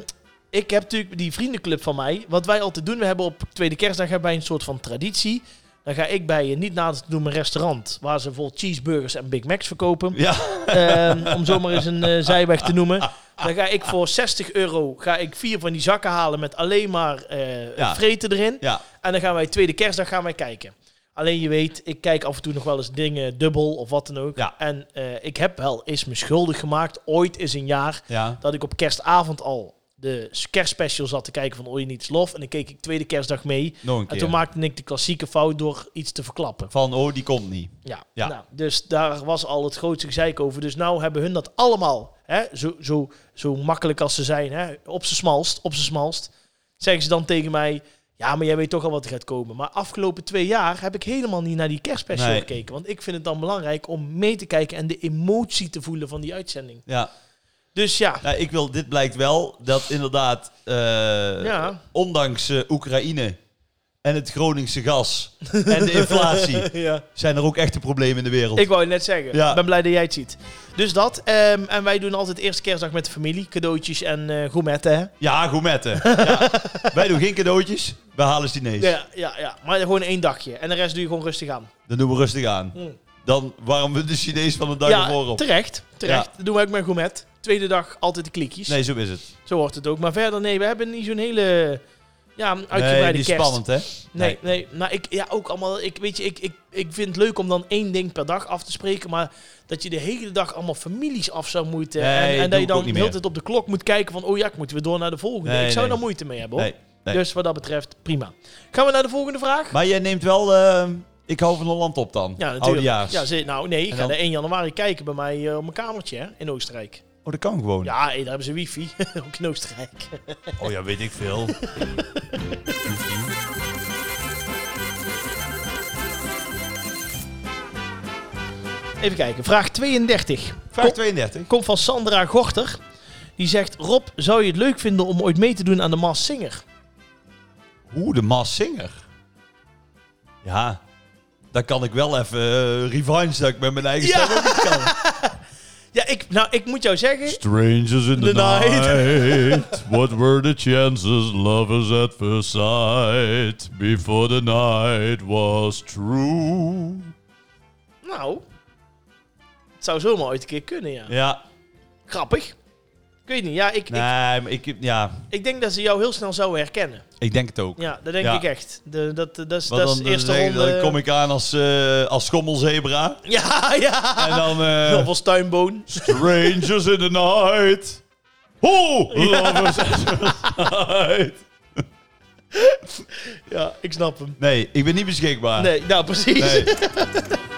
Speaker 1: ik heb natuurlijk die vriendenclub van mij. Wat wij altijd doen, we hebben op tweede kerstdag hebben wij een soort van traditie. Dan ga ik bij een niet na te noemen restaurant, waar ze vol cheeseburgers en Big Macs
Speaker 2: *laughs*
Speaker 1: verkopen.
Speaker 2: Ja.
Speaker 1: *laughs* Ehm, om zomaar eens een eh, zijweg te noemen. Dan ga ik voor 60 euro ga ik vier van die zakken halen met alleen maar eh,
Speaker 2: Ja.
Speaker 1: vreten erin.
Speaker 2: Ja.
Speaker 1: En dan gaan wij tweede kerstdag gaan wij kijken. Alleen je weet, ik kijk af en toe nog wel eens dingen dubbel of wat dan ook.
Speaker 2: Ja.
Speaker 1: En eh, ik heb wel eens me schuldig gemaakt. Ooit is een jaar
Speaker 2: Ja.
Speaker 1: dat ik op kerstavond al de s- kerstspecial zat te kijken van All You Need Is Love. En dan keek ik tweede kerstdag mee.
Speaker 2: Nog een
Speaker 1: En
Speaker 2: keer.
Speaker 1: toen maakte ik de klassieke fout door iets te verklappen.
Speaker 2: Van, oh, die komt niet.
Speaker 1: Ja,
Speaker 2: Ja.
Speaker 1: Nou, dus daar was al het grootste gezeik over. Dus nou hebben hun dat allemaal, hè, zo, zo, zo makkelijk als ze zijn, hè, op z'n smalst, op z'n smalst, zeggen ze dan tegen mij... Ja, maar jij weet toch al wat er gaat komen. Maar afgelopen twee jaar heb ik helemaal niet naar die kerstspecial
Speaker 2: Nee.
Speaker 1: gekeken. Want ik vind het dan belangrijk om mee te kijken en de emotie te voelen van die uitzending.
Speaker 2: Ja.
Speaker 1: Dus
Speaker 2: *laughs*
Speaker 1: ja,
Speaker 2: Nou, ik wil, dit blijkt wel dat inderdaad, eh,
Speaker 1: Ja.
Speaker 2: ondanks eh, Oekraïne en het Groningse
Speaker 1: *laughs*
Speaker 2: gas en de inflatie,
Speaker 1: ja.
Speaker 2: zijn er ook echte problemen in de wereld.
Speaker 1: Ik wou je net zeggen. Ik
Speaker 2: Ja.
Speaker 1: ben blij dat jij het ziet. Dus dat. ehm, en wij doen altijd eerste kerstdag met de familie. Cadeautjes en eh gourmetten. Hè?
Speaker 2: Ja, gourmetten.
Speaker 1: *laughs*
Speaker 2: ja. Wij doen geen cadeautjes, wij halen Chinees.
Speaker 1: Ja, ja, ja. Maar gewoon één dagje. En de rest doe je gewoon rustig aan.
Speaker 2: Dan doen we rustig aan.
Speaker 1: Mm.
Speaker 2: Dan warmen we de Chinees van de dag
Speaker 1: ja,
Speaker 2: ervoor op.
Speaker 1: terecht. terecht. Dat doen we ook met gourmet. Tweede dag altijd de klikjes.
Speaker 2: Nee, zo is het.
Speaker 1: Zo hoort het ook. Maar verder, nee, we hebben niet zo'n hele... Ja, een uitgebreide
Speaker 2: Nee, die is
Speaker 1: kerst.
Speaker 2: spannend, hè?
Speaker 1: Nee, nee. Nou, ik, ja, ook allemaal... Ik, weet je, ik, ik, ik vind het leuk om dan één ding per dag af te spreken. Maar dat je de hele dag allemaal families af zou moeten.
Speaker 2: Nee,
Speaker 1: en en
Speaker 2: doe
Speaker 1: dat je
Speaker 2: ik
Speaker 1: dan
Speaker 2: ook
Speaker 1: de
Speaker 2: niet
Speaker 1: hele
Speaker 2: meer.
Speaker 1: tijd op de klok moet kijken van... Oh ja, ik moet weer door naar de volgende.
Speaker 2: Nee,
Speaker 1: ik zou
Speaker 2: nee.
Speaker 1: daar moeite mee hebben, hoor.
Speaker 2: Nee. nee.
Speaker 1: Dus wat dat betreft, prima. Gaan we naar de volgende vraag?
Speaker 2: Maar jij neemt wel, eh, ik hou van Holland op dan.
Speaker 1: Ja, natuurlijk.
Speaker 2: Oudejaars.
Speaker 1: Ja, ze- nou nee, ik
Speaker 2: En
Speaker 1: ga
Speaker 2: dan-
Speaker 1: de 1 januari kijken bij mij eh, op mijn kamertje hè, in Oostenrijk.
Speaker 2: Oh, dat kan gewoon.
Speaker 1: Ja, hé, daar hebben ze wifi, *laughs* ook in Oostenrijk.
Speaker 2: Oh ja, weet ik *laughs* veel.
Speaker 1: Even kijken, vraag 32.
Speaker 2: Vraag 32.
Speaker 1: Komt van Sandra Gorter. Die zegt, Rob, zou je het leuk vinden om ooit mee te doen aan de Maas Singer?
Speaker 2: Oeh, de Mas Singer. Ja, dan kan ik wel even eh, revenge dat ik met mijn eigen stem ook niet kan.
Speaker 1: *laughs* Ja, ik, nou, ik moet jou zeggen...
Speaker 2: Strangers in
Speaker 1: the The night.
Speaker 2: what were the chances lovers at first sight before the night was true?
Speaker 1: Nou, het zou zomaar ooit een keer kunnen, ja.
Speaker 2: Ja,
Speaker 1: Grappig. Ik weet niet, ja, ik,
Speaker 2: nee,
Speaker 1: ik,
Speaker 2: maar ik, ja,
Speaker 1: ik denk dat ze jou heel snel zouden herkennen.
Speaker 2: ik denk het ook.
Speaker 1: Ja, dat denk
Speaker 2: Ja.
Speaker 1: ik echt. De, dat, dat, is,
Speaker 2: Want
Speaker 1: dat is
Speaker 2: dan, dus eh,
Speaker 1: de eerste
Speaker 2: zeggen-
Speaker 1: ronde.
Speaker 2: dan kom ik aan als, eh als schommelzebra.
Speaker 1: Ja, *laughs* ja.
Speaker 2: En dan... eh,
Speaker 1: Nog wel stuinboon.
Speaker 2: Strangers in the night. Ho, lovers at first sight.
Speaker 1: Ja, ik snap hem.
Speaker 2: Nee, ik ben niet beschikbaar.
Speaker 1: Nee, nou precies.
Speaker 2: Nee.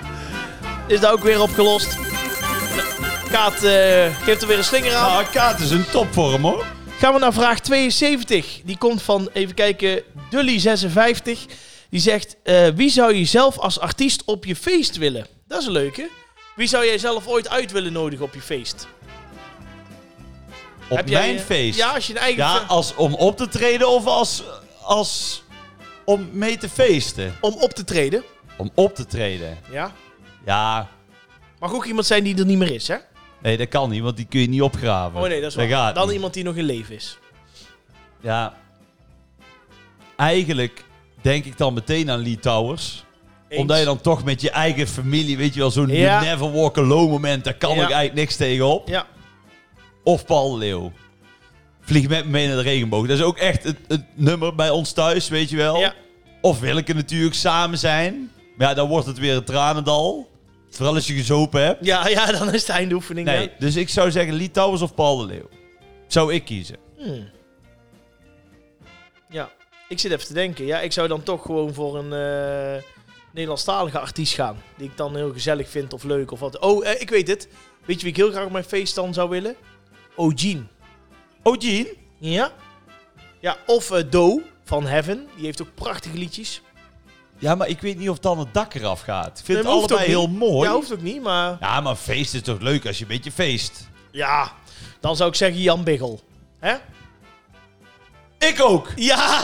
Speaker 1: *laughs* is daar ook weer opgelost. Kaat eh, geeft er weer een slinger aan.
Speaker 2: Nou, Kaat is een topvorm hoor.
Speaker 1: Gaan we naar vraag 72. Die komt van, even kijken, Dully56. Die zegt, eh, wie zou je zelf als artiest op je feest willen? Dat is een leuke. Wie zou jij zelf ooit uit willen nodigen op je feest?
Speaker 2: Op
Speaker 1: Heb jij,
Speaker 2: mijn
Speaker 1: eh,
Speaker 2: feest.
Speaker 1: Ja, als je een eigen...
Speaker 2: Ja,
Speaker 1: fe-
Speaker 2: als om op te treden of als, als om mee te feesten.
Speaker 1: om op te treden.
Speaker 2: Om op te treden.
Speaker 1: Ja.
Speaker 2: Ja,
Speaker 1: Mag ook iemand zijn die er niet meer is, hè?
Speaker 2: nee, dat kan niet, want die kun je niet opgraven.
Speaker 1: Oh nee, dat is waar.
Speaker 2: gaat
Speaker 1: Dan
Speaker 2: niet.
Speaker 1: iemand die nog in leven is.
Speaker 2: Ja. Eigenlijk denk ik dan meteen aan Lee Towers.
Speaker 1: Eens.
Speaker 2: Omdat je dan toch met je eigen familie, weet je wel, zo'n
Speaker 1: Ja.
Speaker 2: you never walk alone moment, daar kan
Speaker 1: Ja.
Speaker 2: ik eigenlijk niks tegen op.
Speaker 1: Ja.
Speaker 2: Of Paul de Leeuw. Vlieg met me mee naar de regenboog. Dat is ook echt het, het nummer bij ons thuis, weet je wel.
Speaker 1: Ja.
Speaker 2: Of Willeke natuurlijk, samen zijn. Maar ja, dan wordt het weer een tranendal. Vooral als je gezopen hebt.
Speaker 1: Ja, ja, dan is het einde oefening.
Speaker 2: Nee, dus ik zou zeggen Lee Towers of Paul de Leeuw. Zou ik kiezen.
Speaker 1: Hmm. Ja, ik zit even te denken. Ja, ik zou dan toch gewoon voor een eh Nederlandstalige artiest gaan. Die ik dan heel gezellig vind of leuk of wat. Oh, eh, ik weet het. Weet je wie ik heel graag op mijn feest dan zou willen? Ogene.
Speaker 2: Oh, Jean?
Speaker 1: Ja? Ja, of eh Do van Heaven. Die heeft ook prachtige liedjes.
Speaker 2: Ja, maar ik weet niet of dan het dak eraf gaat. Ik vind
Speaker 1: Nee,
Speaker 2: het
Speaker 1: maar hoeft
Speaker 2: allebei
Speaker 1: ook
Speaker 2: heel
Speaker 1: niet.
Speaker 2: mooi.
Speaker 1: Ja, hoeft ook niet, maar...
Speaker 2: Ja, maar feest is toch leuk als je een beetje feest.
Speaker 1: Ja, dan zou ik zeggen Jan Biggel. Hè?
Speaker 2: Ik ook.
Speaker 1: Ja!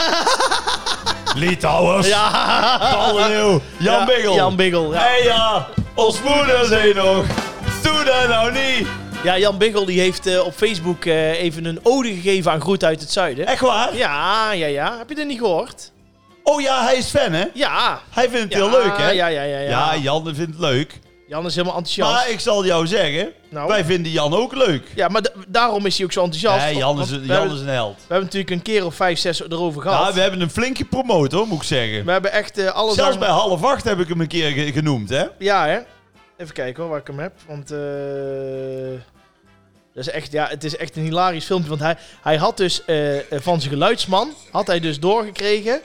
Speaker 2: Lee Towers.
Speaker 1: ja.
Speaker 2: Paul de Leeuw. Jan
Speaker 1: Ja,
Speaker 2: Biggel.
Speaker 1: Jan Biggel, ja.
Speaker 2: Hey ja, ons moeder zei nog. Doe dat nou niet.
Speaker 1: Ja, Jan Biggel die heeft eh, op Facebook eh, even een ode gegeven aan Groet uit het Zuiden.
Speaker 2: Echt waar?
Speaker 1: Ja, ja, ja. Heb je dat niet gehoord?
Speaker 2: Oh ja, hij is fan hè?
Speaker 1: Ja.
Speaker 2: Hij vindt het
Speaker 1: Ja,
Speaker 2: heel leuk hè?
Speaker 1: Ja, ja, ja. ja.
Speaker 2: Ja, Jan vindt het leuk.
Speaker 1: Jan is helemaal enthousiast.
Speaker 2: Maar ik zal jou zeggen,
Speaker 1: Nou.
Speaker 2: wij vinden Jan ook leuk.
Speaker 1: Ja, maar da- daarom is hij ook zo enthousiast.
Speaker 2: Nee, Jan is,
Speaker 1: Want we,
Speaker 2: Jan
Speaker 1: hebben,
Speaker 2: is een held.
Speaker 1: we hebben natuurlijk een keer of vijf, zes erover gehad.
Speaker 2: Ja, we hebben hem flink gepromoot hoor, moet ik zeggen.
Speaker 1: We hebben echt eh, alles
Speaker 2: Zelfs
Speaker 1: aan-
Speaker 2: bij half acht heb ik hem een keer ge- genoemd hè?
Speaker 1: Ja, hè. Even kijken hoor, waar ik hem heb. Want eh, dat is echt, ja, het is echt een hilarisch filmpje. Want hij, hij had dus eh, eh, van zijn geluidsman, had hij dus doorgekregen...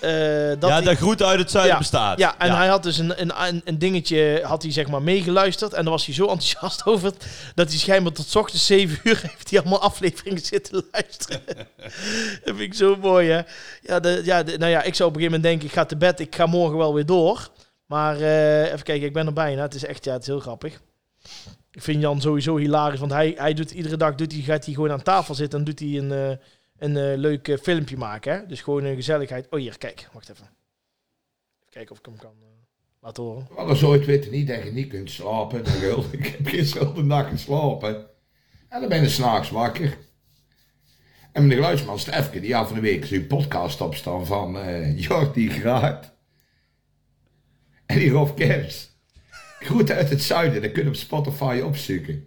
Speaker 1: eh, dat
Speaker 2: ja,
Speaker 1: hij-
Speaker 2: dat groet uit het zuiden
Speaker 1: Ja,
Speaker 2: bestaat.
Speaker 1: Ja, en hij had dus een, een, een, een dingetje, had hij zeg maar meegeluisterd. En daar was hij zo enthousiast *laughs* over, dat hij schijnbaar tot 's ochtends 7 uur *laughs* heeft hij allemaal afleveringen zitten luisteren. *laughs* dat vind ik zo mooi, hè. Ja, de, ja de- nou ja, ik zou op een gegeven moment denken, ik ga te bed, ik ga morgen wel weer door. Maar eh, even kijken, ik ben er bijna. Het is echt, ja, het is heel grappig. Ik vind Jan sowieso hilarisch, want hij, hij doet iedere dag, doet hij, gaat hij gewoon aan tafel zitten en doet hij een, eh, een eh, leuk eh, filmpje maken. Hè? Dus gewoon een gezelligheid. Oh, hier, kijk, wacht even. Even kijken of ik hem kan eh, laten horen.
Speaker 3: Alles ooit weten niet dat je niet kunt slapen. Dan wil ik. *laughs* Ik heb gisteren heel de nacht geslapen. En dan ben ik s'nachts wakker. En mijn geluidsman Stefke, die af en de week zijn podcast opstaan van eh Jordi Graat. En die Rob Kers. Groet uit het zuiden, dat kun je op Spotify opzoeken.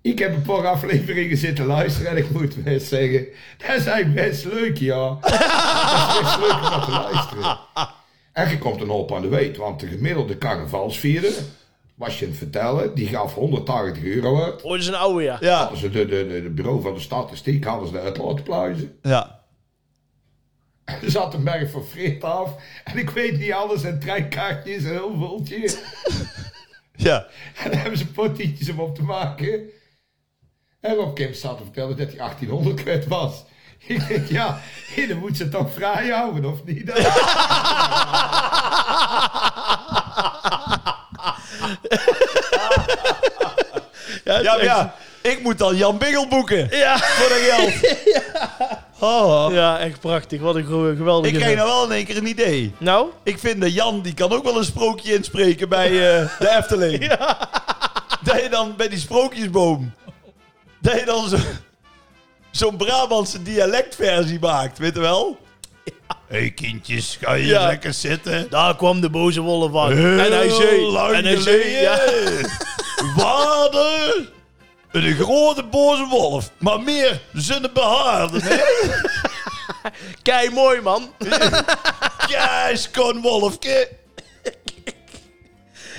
Speaker 3: Ik heb een paar afleveringen zitten luisteren en ik moet best zeggen, dat is eigenlijk best leuk, ja. Dat is best leuk om naar te luisteren. En je komt een hoop aan de weet, want de gemiddelde carnavalsvierder, was je aan het vertellen, die gaf 180 euro uit.
Speaker 1: Oh, dat is een oude, ja.
Speaker 2: Ja,
Speaker 3: Hadden ze de, de, de, de bureau van de statistiek hadden ze de uitlaatpluizen.
Speaker 2: ja.
Speaker 3: *laughs* Er zat een berg van frit af. En ik weet niet alles. En treinkaartjes en heel vultje.
Speaker 2: ja.
Speaker 3: *laughs* En daar hebben ze pottietjes om op te maken. En Rob Kemp staat te vertellen dat hij 1800 kwijt was. Ik denk, ja, *laughs* dan moet ze toch vrij houden, of niet?
Speaker 2: Ja, maar ja, ik moet dan Jan Biggel boeken
Speaker 1: Ja.
Speaker 2: voor dat
Speaker 1: *laughs*
Speaker 2: geld. Oh,
Speaker 1: ja, echt prachtig. Wat een gro- geweldige...
Speaker 2: ik krijg nou wel in één keer een idee.
Speaker 1: Nou?
Speaker 2: Ik vind dat Jan, die kan ook wel een sprookje inspreken bij eh,
Speaker 1: *laughs*
Speaker 2: de Efteling. Dat je dan bij die sprookjesboom, dat je dan zo- zo'n Brabantse dialectversie maakt, weet je wel? Hé hey kindjes, ga je
Speaker 1: Ja.
Speaker 2: lekker zitten?
Speaker 1: Daar kwam de boze wolf aan.
Speaker 2: Heel
Speaker 1: en hij zei...
Speaker 2: lang
Speaker 1: En hij zei...
Speaker 2: geleden.
Speaker 1: Ja.
Speaker 2: Waarde. Een grote boze wolf. Maar meer zijn behaarden.
Speaker 1: *laughs* Kei mooi, man.
Speaker 2: Keis kon wolfke.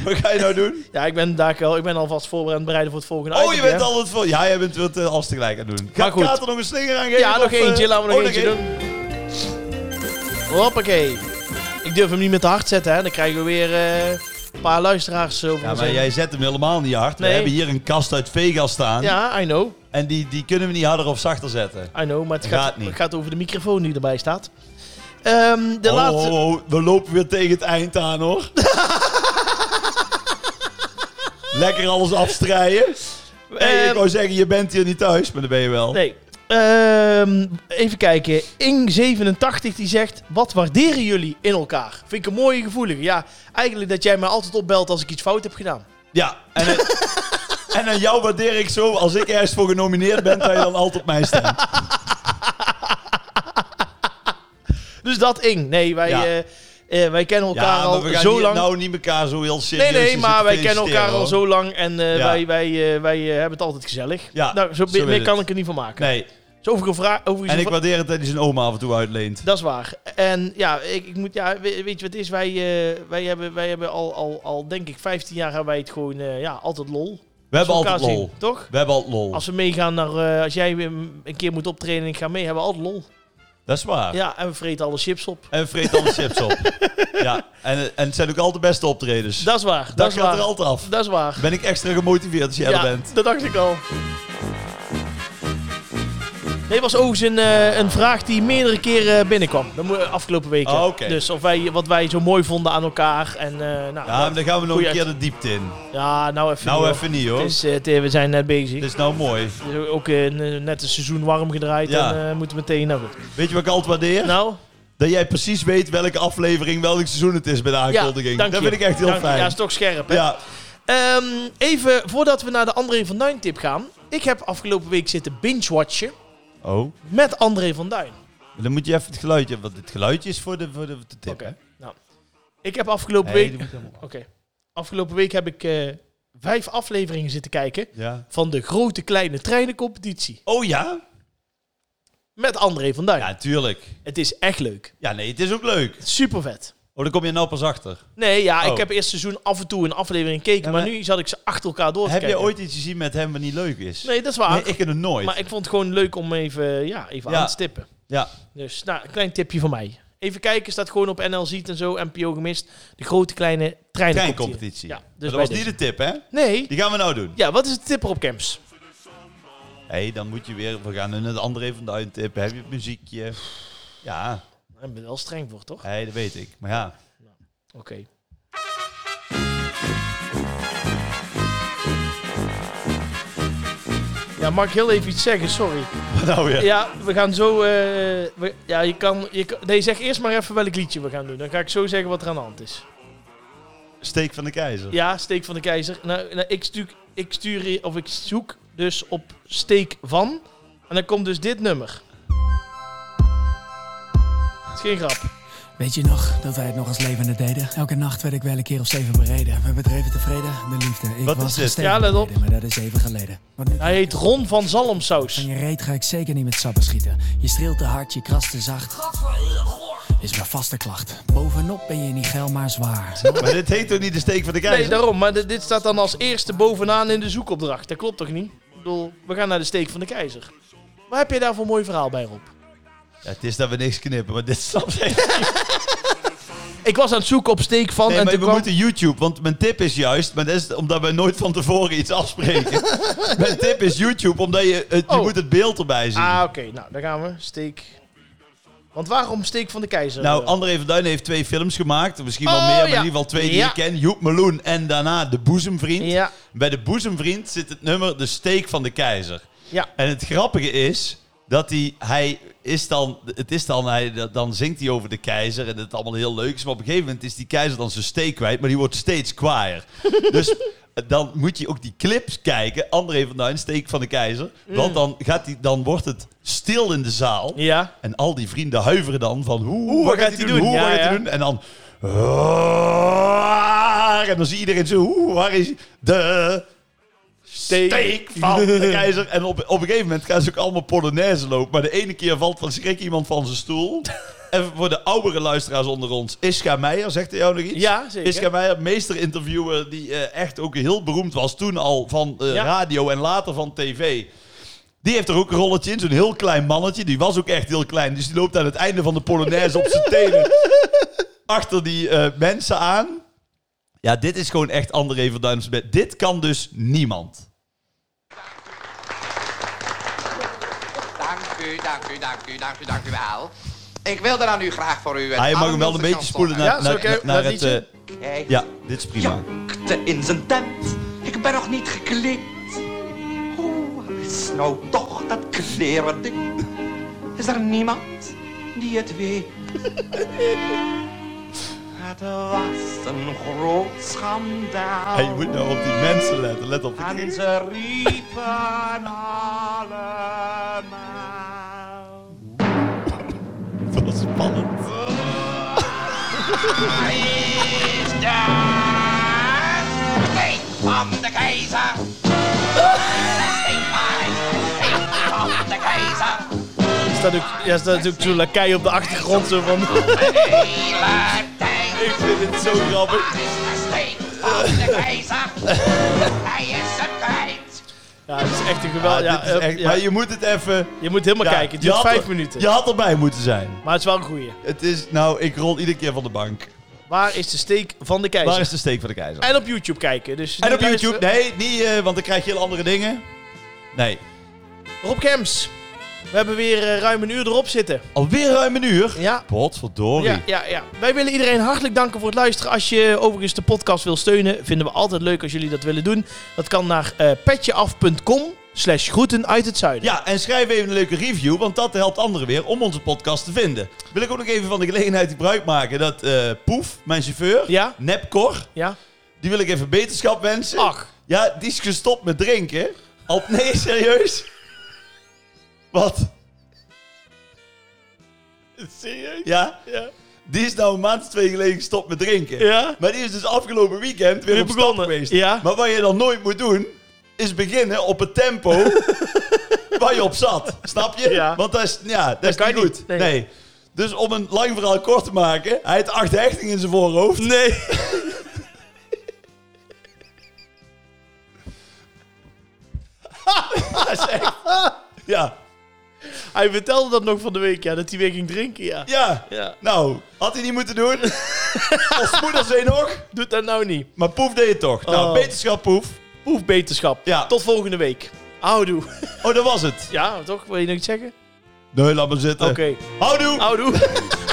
Speaker 2: Wat ga je nou doen?
Speaker 1: Ja, ik ben, daar, al- ik ben alvast voorbereid en bereiden voor het volgende
Speaker 2: Oh, je
Speaker 1: item, hè?
Speaker 2: bent al het voor. Ja, jij bent het eh, alles tegelijk aan het doen. Ga
Speaker 1: Maar goed.
Speaker 2: Kaat er nog een slinger aan geven?
Speaker 1: Ja, nog
Speaker 2: of, eh,
Speaker 1: eentje. Laten we nog
Speaker 2: oh,
Speaker 1: eentje doen. Hoppakee. Ik durf hem niet meer te hard zetten, hè. Dan krijgen we weer... eh, een paar luisteraars over
Speaker 2: Ja, maar
Speaker 1: zijn.
Speaker 2: jij zet hem helemaal niet hard.
Speaker 1: Nee.
Speaker 2: We hebben hier een kast uit Vegas staan.
Speaker 1: Ja, I know.
Speaker 2: En die, die kunnen we niet harder of zachter zetten.
Speaker 1: I know, maar het
Speaker 2: Gaat
Speaker 1: gaat,
Speaker 2: niet.
Speaker 1: het gaat over de microfoon die erbij staat. Ehm, de
Speaker 2: Oh,
Speaker 1: laatste...
Speaker 2: oh, oh, we lopen weer tegen het eind aan,
Speaker 1: *laughs*
Speaker 2: hoor. Lekker alles afstrijden. Hey,
Speaker 1: Ehm,
Speaker 2: ik wou zeggen, je bent hier niet thuis, maar dat ben je wel.
Speaker 1: Nee. Ehm, even kijken. Ing87 die zegt: Wat waarderen jullie in elkaar? Vind ik een mooie gevoelige. Ja, eigenlijk dat jij mij altijd opbelt als ik iets fout heb gedaan.
Speaker 2: Ja, en,
Speaker 1: *laughs*
Speaker 2: het- en aan jou waardeer ik zo, als ik ergens voor genomineerd ben, dat je dan altijd op mij stemt.
Speaker 1: Dus dat Ing. Nee, wij,
Speaker 2: Ja.
Speaker 1: eh, eh, wij kennen *laughs* elkaar
Speaker 2: Ja, maar
Speaker 1: al
Speaker 2: we gaan
Speaker 1: zo
Speaker 2: hier
Speaker 1: lang.
Speaker 2: nou niet elkaar zo heel serieus
Speaker 1: nee, nee,
Speaker 2: in
Speaker 1: maar
Speaker 2: zitten
Speaker 1: wij kennen elkaar
Speaker 2: feliciteren,
Speaker 1: al zo
Speaker 2: hoor.
Speaker 1: lang en eh,
Speaker 2: Ja.
Speaker 1: wij, wij, eh, wij eh, hebben het altijd gezellig.
Speaker 2: Ja,
Speaker 1: nou, zo,
Speaker 2: zo
Speaker 1: meer-
Speaker 2: is
Speaker 1: meer
Speaker 2: het.
Speaker 1: kan ik er niet van maken.
Speaker 2: Nee,
Speaker 1: Dus overigens, vra- overigens
Speaker 2: en
Speaker 1: een
Speaker 2: ik waardeer het dat hij zijn oma af en toe uitleent.
Speaker 1: Dat is waar. En ja, ik, ik moet, ja we- weet je wat het is? Wij, eh, wij hebben, wij hebben al, al, al, denk ik, 15 jaar hebben wij het gewoon eh, ja, altijd lol.
Speaker 2: We hebben
Speaker 1: Als we
Speaker 2: altijd
Speaker 1: elkaar
Speaker 2: lol.
Speaker 1: zien, toch?
Speaker 2: We hebben altijd lol.
Speaker 1: Als we meegaan naar, eh, als jij weer een keer moet optreden en ik ga mee, hebben we altijd lol.
Speaker 2: Dat is waar.
Speaker 1: Ja, en we vreten alle chips op.
Speaker 2: En vreet alle
Speaker 1: *laughs*
Speaker 2: chips op. Ja, en, en het zijn ook altijd beste optredens.
Speaker 1: Dat is waar. Dat,
Speaker 2: dat
Speaker 1: is
Speaker 2: gaat
Speaker 1: waar.
Speaker 2: er altijd af.
Speaker 1: Dat is waar.
Speaker 2: Ben ik extra gemotiveerd als jij er bent.
Speaker 1: dat dacht ik al. Nee, was overigens een, eh, een vraag die meerdere keren eh, binnenkwam. De mo- afgelopen weken.
Speaker 2: Oh, oké.
Speaker 1: Dus of wij, wat wij zo mooi vonden aan elkaar. En, eh, nou,
Speaker 2: Ja, maar
Speaker 1: wat-
Speaker 2: dan gaan we nog
Speaker 1: Goeie
Speaker 2: een keer de diepte in.
Speaker 1: ja, nou even.
Speaker 2: Nou
Speaker 1: niet, hoor.
Speaker 2: even niet hoor.
Speaker 1: Het
Speaker 2: Het is,
Speaker 1: is, eh, het- eh, we zijn net bezig.
Speaker 2: nou mooi.
Speaker 1: Het is ook eh, n- net een seizoen warm gedraaid
Speaker 2: Ja.
Speaker 1: en eh, moeten meteen nou goed.
Speaker 2: Weet je wat ik altijd waardeer?
Speaker 1: Nou,
Speaker 2: Dat jij precies weet welke aflevering, welk seizoen het is bij de
Speaker 1: ja,
Speaker 2: aankondiging.
Speaker 1: dank
Speaker 2: dat
Speaker 1: je.
Speaker 2: vind ik echt heel
Speaker 1: Dank je.
Speaker 2: fijn.
Speaker 1: Ja,
Speaker 2: Ja,
Speaker 1: is toch scherp, hè? Ehm, even voordat we naar de André van Duin tip gaan. Ik heb afgelopen week zitten binge-watchen
Speaker 2: Oh,
Speaker 1: met André van Duin.
Speaker 2: dan moet je even het geluidje, want het geluidje is voor de, voor de, de tip.
Speaker 1: Oké.
Speaker 2: hè?
Speaker 1: Nou, ik heb afgelopen
Speaker 2: Nee,
Speaker 1: week...
Speaker 2: die moet helemaal-
Speaker 1: Oké. Afgelopen week heb ik eh, vijf afleveringen zitten kijken
Speaker 2: ja.
Speaker 1: van de grote kleine treinencompetitie
Speaker 2: Oh ja?
Speaker 1: met André van Duin.
Speaker 2: Ja, tuurlijk.
Speaker 1: Het is echt leuk.
Speaker 2: Ja, nee, het is ook leuk.
Speaker 1: Super vet.
Speaker 2: Oh, daar kom je nou pas achter.
Speaker 1: Nee, ja, ik
Speaker 2: Oh.
Speaker 1: heb eerst seizoen af en toe een aflevering gekeken,
Speaker 2: Ja,
Speaker 1: maar,
Speaker 2: maar-
Speaker 1: nu zat ik ze achter elkaar door te
Speaker 2: Heb jij
Speaker 1: kijken.
Speaker 2: ooit iets gezien met hem wat niet leuk is?
Speaker 1: Nee, dat is waar.
Speaker 2: Nee, ik heb het nooit.
Speaker 1: maar ik vond het gewoon leuk om even, eh, ja, even
Speaker 2: Ja.
Speaker 1: aan te stippen.
Speaker 2: Ja,
Speaker 1: Dus, nou, een klein tipje van mij. Even kijken, staat gewoon op NL Ziet en zo, NPO gemist. De grote kleine treinencompetitie.
Speaker 2: treincompetitie.
Speaker 1: Ja,
Speaker 2: Maar
Speaker 1: dus
Speaker 2: dat was
Speaker 1: bij
Speaker 2: niet de tip, hè?
Speaker 1: Nee.
Speaker 2: Die gaan we nou doen.
Speaker 1: Ja, wat is de tipper op camps?
Speaker 2: Hé, hey, dan moet je weer... We gaan een andere van de tip. Heb je het muziekje? Ja,
Speaker 1: Daar ben je wel streng voor, toch?
Speaker 2: hé, dat weet ik. Maar ja, *laughs*
Speaker 1: Oké. Ja, mag ik heel even iets zeggen? Sorry.
Speaker 2: wat nou weer?
Speaker 1: Ja, we gaan zo. eh, we- ja, je kan, je kan- Nee, zeg eerst maar even welk liedje we gaan doen. Dan ga ik zo zeggen wat er aan de hand is.
Speaker 2: Steek van de keizer.
Speaker 1: Ja, Steek van de Keizer. Nou, nou, ik, stuur, ik stuur hier- of ik zoek dus op Steek van. En dan komt dus dit nummer. Het is geen grap.
Speaker 4: Weet je nog dat wij het nog als levende deden? Elke nacht werd ik wel een keer of zeven bereden. We bedreven tevreden de liefde. Ik
Speaker 2: Wat
Speaker 4: was
Speaker 2: is dit?
Speaker 4: gestegen
Speaker 1: Ja, let op.
Speaker 4: beneden, Maar dat is even geleden. Want nu
Speaker 1: Hij heet Ron van Zalmsaus.
Speaker 4: van je reet ga ik zeker niet met sappen schieten. Je streelt te hard, je krast te zacht. Is mijn vaste klacht. Bovenop ben je niet geil, maar zwaar.
Speaker 2: Maar dit heet toch niet de steek van de keizer?
Speaker 1: Nee, daarom. Maar dit- dit staat dan als eerste bovenaan in de zoekopdracht. Dat klopt toch niet? Ik bedoel, we gaan naar de Steek van de Keizer. Waar heb je daar voor een mooi verhaal bij, Rob?
Speaker 2: Ja, het is dat we niks knippen, maar dit snapt echt.
Speaker 1: Ik was aan het zoeken op Steek van
Speaker 2: Nee,
Speaker 1: en
Speaker 2: maar we
Speaker 1: toen kwam...
Speaker 2: moeten YouTube, want mijn tip is juist... Maar dat is omdat wij nooit van tevoren iets
Speaker 1: *laughs*
Speaker 2: afspreken. mijn tip is YouTube, omdat je, het, je
Speaker 1: Oh.
Speaker 2: moet het beeld erbij zien.
Speaker 1: Ah, oké. Nou, daar gaan we. Steek... Want waarom Steek van de Keizer?
Speaker 2: Nou,
Speaker 1: Eh,
Speaker 2: André van Duin heeft twee films gemaakt. Misschien wel
Speaker 1: Oh,
Speaker 2: meer, maar
Speaker 1: ja.
Speaker 2: in ieder geval twee die
Speaker 1: Ja.
Speaker 2: ik ken. Joep Meloen en daarna De Boezemvriend.
Speaker 1: Ja,
Speaker 2: Bij De Boezemvriend zit het nummer De Steek van de Keizer.
Speaker 1: ja.
Speaker 2: En het grappige is dat hij, hij is dan, het is dan, hij, dat- dan zingt hij over de keizer en het allemaal heel leuk is. Maar op een gegeven moment is die keizer dan zijn steek kwijt, maar die wordt steeds kwaaier. dus dan moet je ook die clips kijken. André van Duin, steek van de keizer. Want dan, gaat hij, dan wordt het stil in de zaal.
Speaker 1: Ja.
Speaker 2: En al die vrienden huiveren dan van hoe,
Speaker 1: Hoe,
Speaker 2: wat gaat hij doen? Hoe,
Speaker 1: Ja,
Speaker 2: wat gaat hij
Speaker 1: ja.
Speaker 2: doen? En dan... "Roar!" En dan zie iedereen zo, hoe, waar is de
Speaker 1: Steek.
Speaker 2: steek van de keizer? En op, op een gegeven moment gaan ze ook allemaal polonaise lopen. Maar de ene keer valt van schrik iemand van zijn
Speaker 1: *laughs*
Speaker 2: stoel. En voor de oudere luisteraars onder ons, Ischa Meijer, zegt hij jou nog iets?
Speaker 1: Ja, zeker.
Speaker 2: Ischa Meijer, meesterinterviewer die eh, echt ook heel beroemd was toen al van eh,
Speaker 1: Ja.
Speaker 2: radio en later van tv. Die heeft er ook een rolletje in, zo'n heel klein mannetje. Die was ook echt heel klein, dus die loopt aan het
Speaker 1: *laughs*
Speaker 2: einde van de polonaise op zijn tenen achter die eh, mensen aan. Ja, dit is gewoon echt André van Duin's bed. Dit kan dus niemand.
Speaker 5: Dank u, dank u, dank u, dank u, dank u wel. Ik wilde dan nu graag voor u een
Speaker 2: Ah, je mag hem wel een
Speaker 5: allermildste
Speaker 2: beetje spoelen naar,
Speaker 5: kansel
Speaker 1: Ja,
Speaker 2: naar,
Speaker 1: is oké.
Speaker 2: naar,
Speaker 1: Dat
Speaker 2: het...
Speaker 1: liedje.
Speaker 2: eh,
Speaker 5: maken. Hij
Speaker 2: ja, dit is prima.
Speaker 5: jokte in zijn tent. Ik ben nog niet gekleed. Hoe is nou toch dat kleren ding? Is er niemand die
Speaker 2: *laughs*
Speaker 5: het weet? Het was een groot schandaal.
Speaker 2: Hey, je moet nou op die mensen letten. Let op.
Speaker 5: En ze riepen *laughs* allemaal.
Speaker 2: *laughs* Dat is spannend.
Speaker 5: is de steek van de keizer. Steek van de keizer.
Speaker 1: Er staat ook, ja, staat ook zo'n lakai op de achtergrond. Zo
Speaker 2: *laughs*
Speaker 1: van,
Speaker 5: Hele tijd
Speaker 2: Ik vind het zo grappig.
Speaker 5: is de steek van de keizer. Hij is het kwijt.
Speaker 1: ja, het is echt een geweld. Ja,
Speaker 2: Ah, dit is
Speaker 1: eh,
Speaker 2: echt-
Speaker 1: ja.
Speaker 2: Maar
Speaker 1: je,
Speaker 2: je moet het even...
Speaker 1: moet helemaal
Speaker 2: Ja,
Speaker 1: kijken. Het
Speaker 2: je
Speaker 1: duurt
Speaker 2: had
Speaker 1: vijf
Speaker 2: er-
Speaker 1: minuten.
Speaker 2: Je had erbij moeten zijn.
Speaker 1: Maar het is wel een goeie.
Speaker 2: Het is... Nou, ik rol iedere keer van de bank.
Speaker 1: Waar is de steek van de keizer?
Speaker 2: Waar is de steek van de keizer?
Speaker 1: En op YouTube kijken. Dus
Speaker 2: En op
Speaker 1: niet
Speaker 2: YouTube?
Speaker 1: luisteren.
Speaker 2: Nee, niet, eh, want dan krijg je heel andere dingen. Nee.
Speaker 1: Rob Kems. We hebben weer eh, ruim een uur erop zitten.
Speaker 2: Alweer ruim een uur.
Speaker 1: Ja.
Speaker 2: Potverdorie.
Speaker 1: Ja, ja, ja. Wij willen iedereen hartelijk danken voor het luisteren. Als je overigens de podcast wil steunen, vinden we altijd leuk als jullie dat willen doen. Dat kan naar eh, petjeaf.com slash groeten uit het zuiden.
Speaker 2: Ja, en schrijf even een leuke review, want dat helpt anderen weer om onze podcast te vinden. Wil ik ook nog even van de gelegenheid gebruik maken dat eh, Poef, mijn chauffeur,
Speaker 1: Ja? Ah.
Speaker 2: Nepcor,
Speaker 1: Ja?
Speaker 2: die wil ik even beterschap wensen.
Speaker 1: Ach.
Speaker 2: Ja, die is gestopt met drinken. Al, nee, serieus? Wat?
Speaker 1: Serieus?
Speaker 2: Ja?
Speaker 1: Ja.
Speaker 2: Die is nou een maand of twee geleden gestopt met drinken.
Speaker 1: Ja?
Speaker 2: Maar die is dus afgelopen weekend weer
Speaker 1: Weer
Speaker 2: op stap
Speaker 1: begonnen,
Speaker 2: geweest.
Speaker 1: ja.
Speaker 2: Maar wat je dan nooit moet doen, is beginnen op het tempo
Speaker 1: *laughs*
Speaker 2: waar je op zat. Snap je?
Speaker 1: Ja.
Speaker 2: Want dat is, ja, dat is
Speaker 1: kan
Speaker 2: niet
Speaker 1: je
Speaker 2: goed.
Speaker 1: niet,
Speaker 2: Nee.
Speaker 1: nee.
Speaker 2: Dus om een lang verhaal kort te maken, hij had acht hechtingen in zijn voorhoofd. Nee. *laughs* dat is echt... Ja,
Speaker 1: Hij vertelde dat nog van de week, ja. Dat hij weer ging drinken, ja.
Speaker 2: ja.
Speaker 1: Ja.
Speaker 2: Nou, had hij niet moeten
Speaker 1: *laughs*
Speaker 2: doen. Ons moeder zei nog.
Speaker 1: Doet dat nou niet.
Speaker 2: Maar Poef deed het toch. Nou,
Speaker 1: Oh.
Speaker 2: beterschap Poef.
Speaker 1: Oef, beterschap.
Speaker 2: Ja.
Speaker 1: Tot volgende week. Houdoe.
Speaker 2: Oh, dat was het.
Speaker 1: Ja, toch? Wil je nog iets zeggen?
Speaker 2: Nee, laat maar zitten.
Speaker 1: Oké.
Speaker 2: Houdoe!
Speaker 1: Houdoe.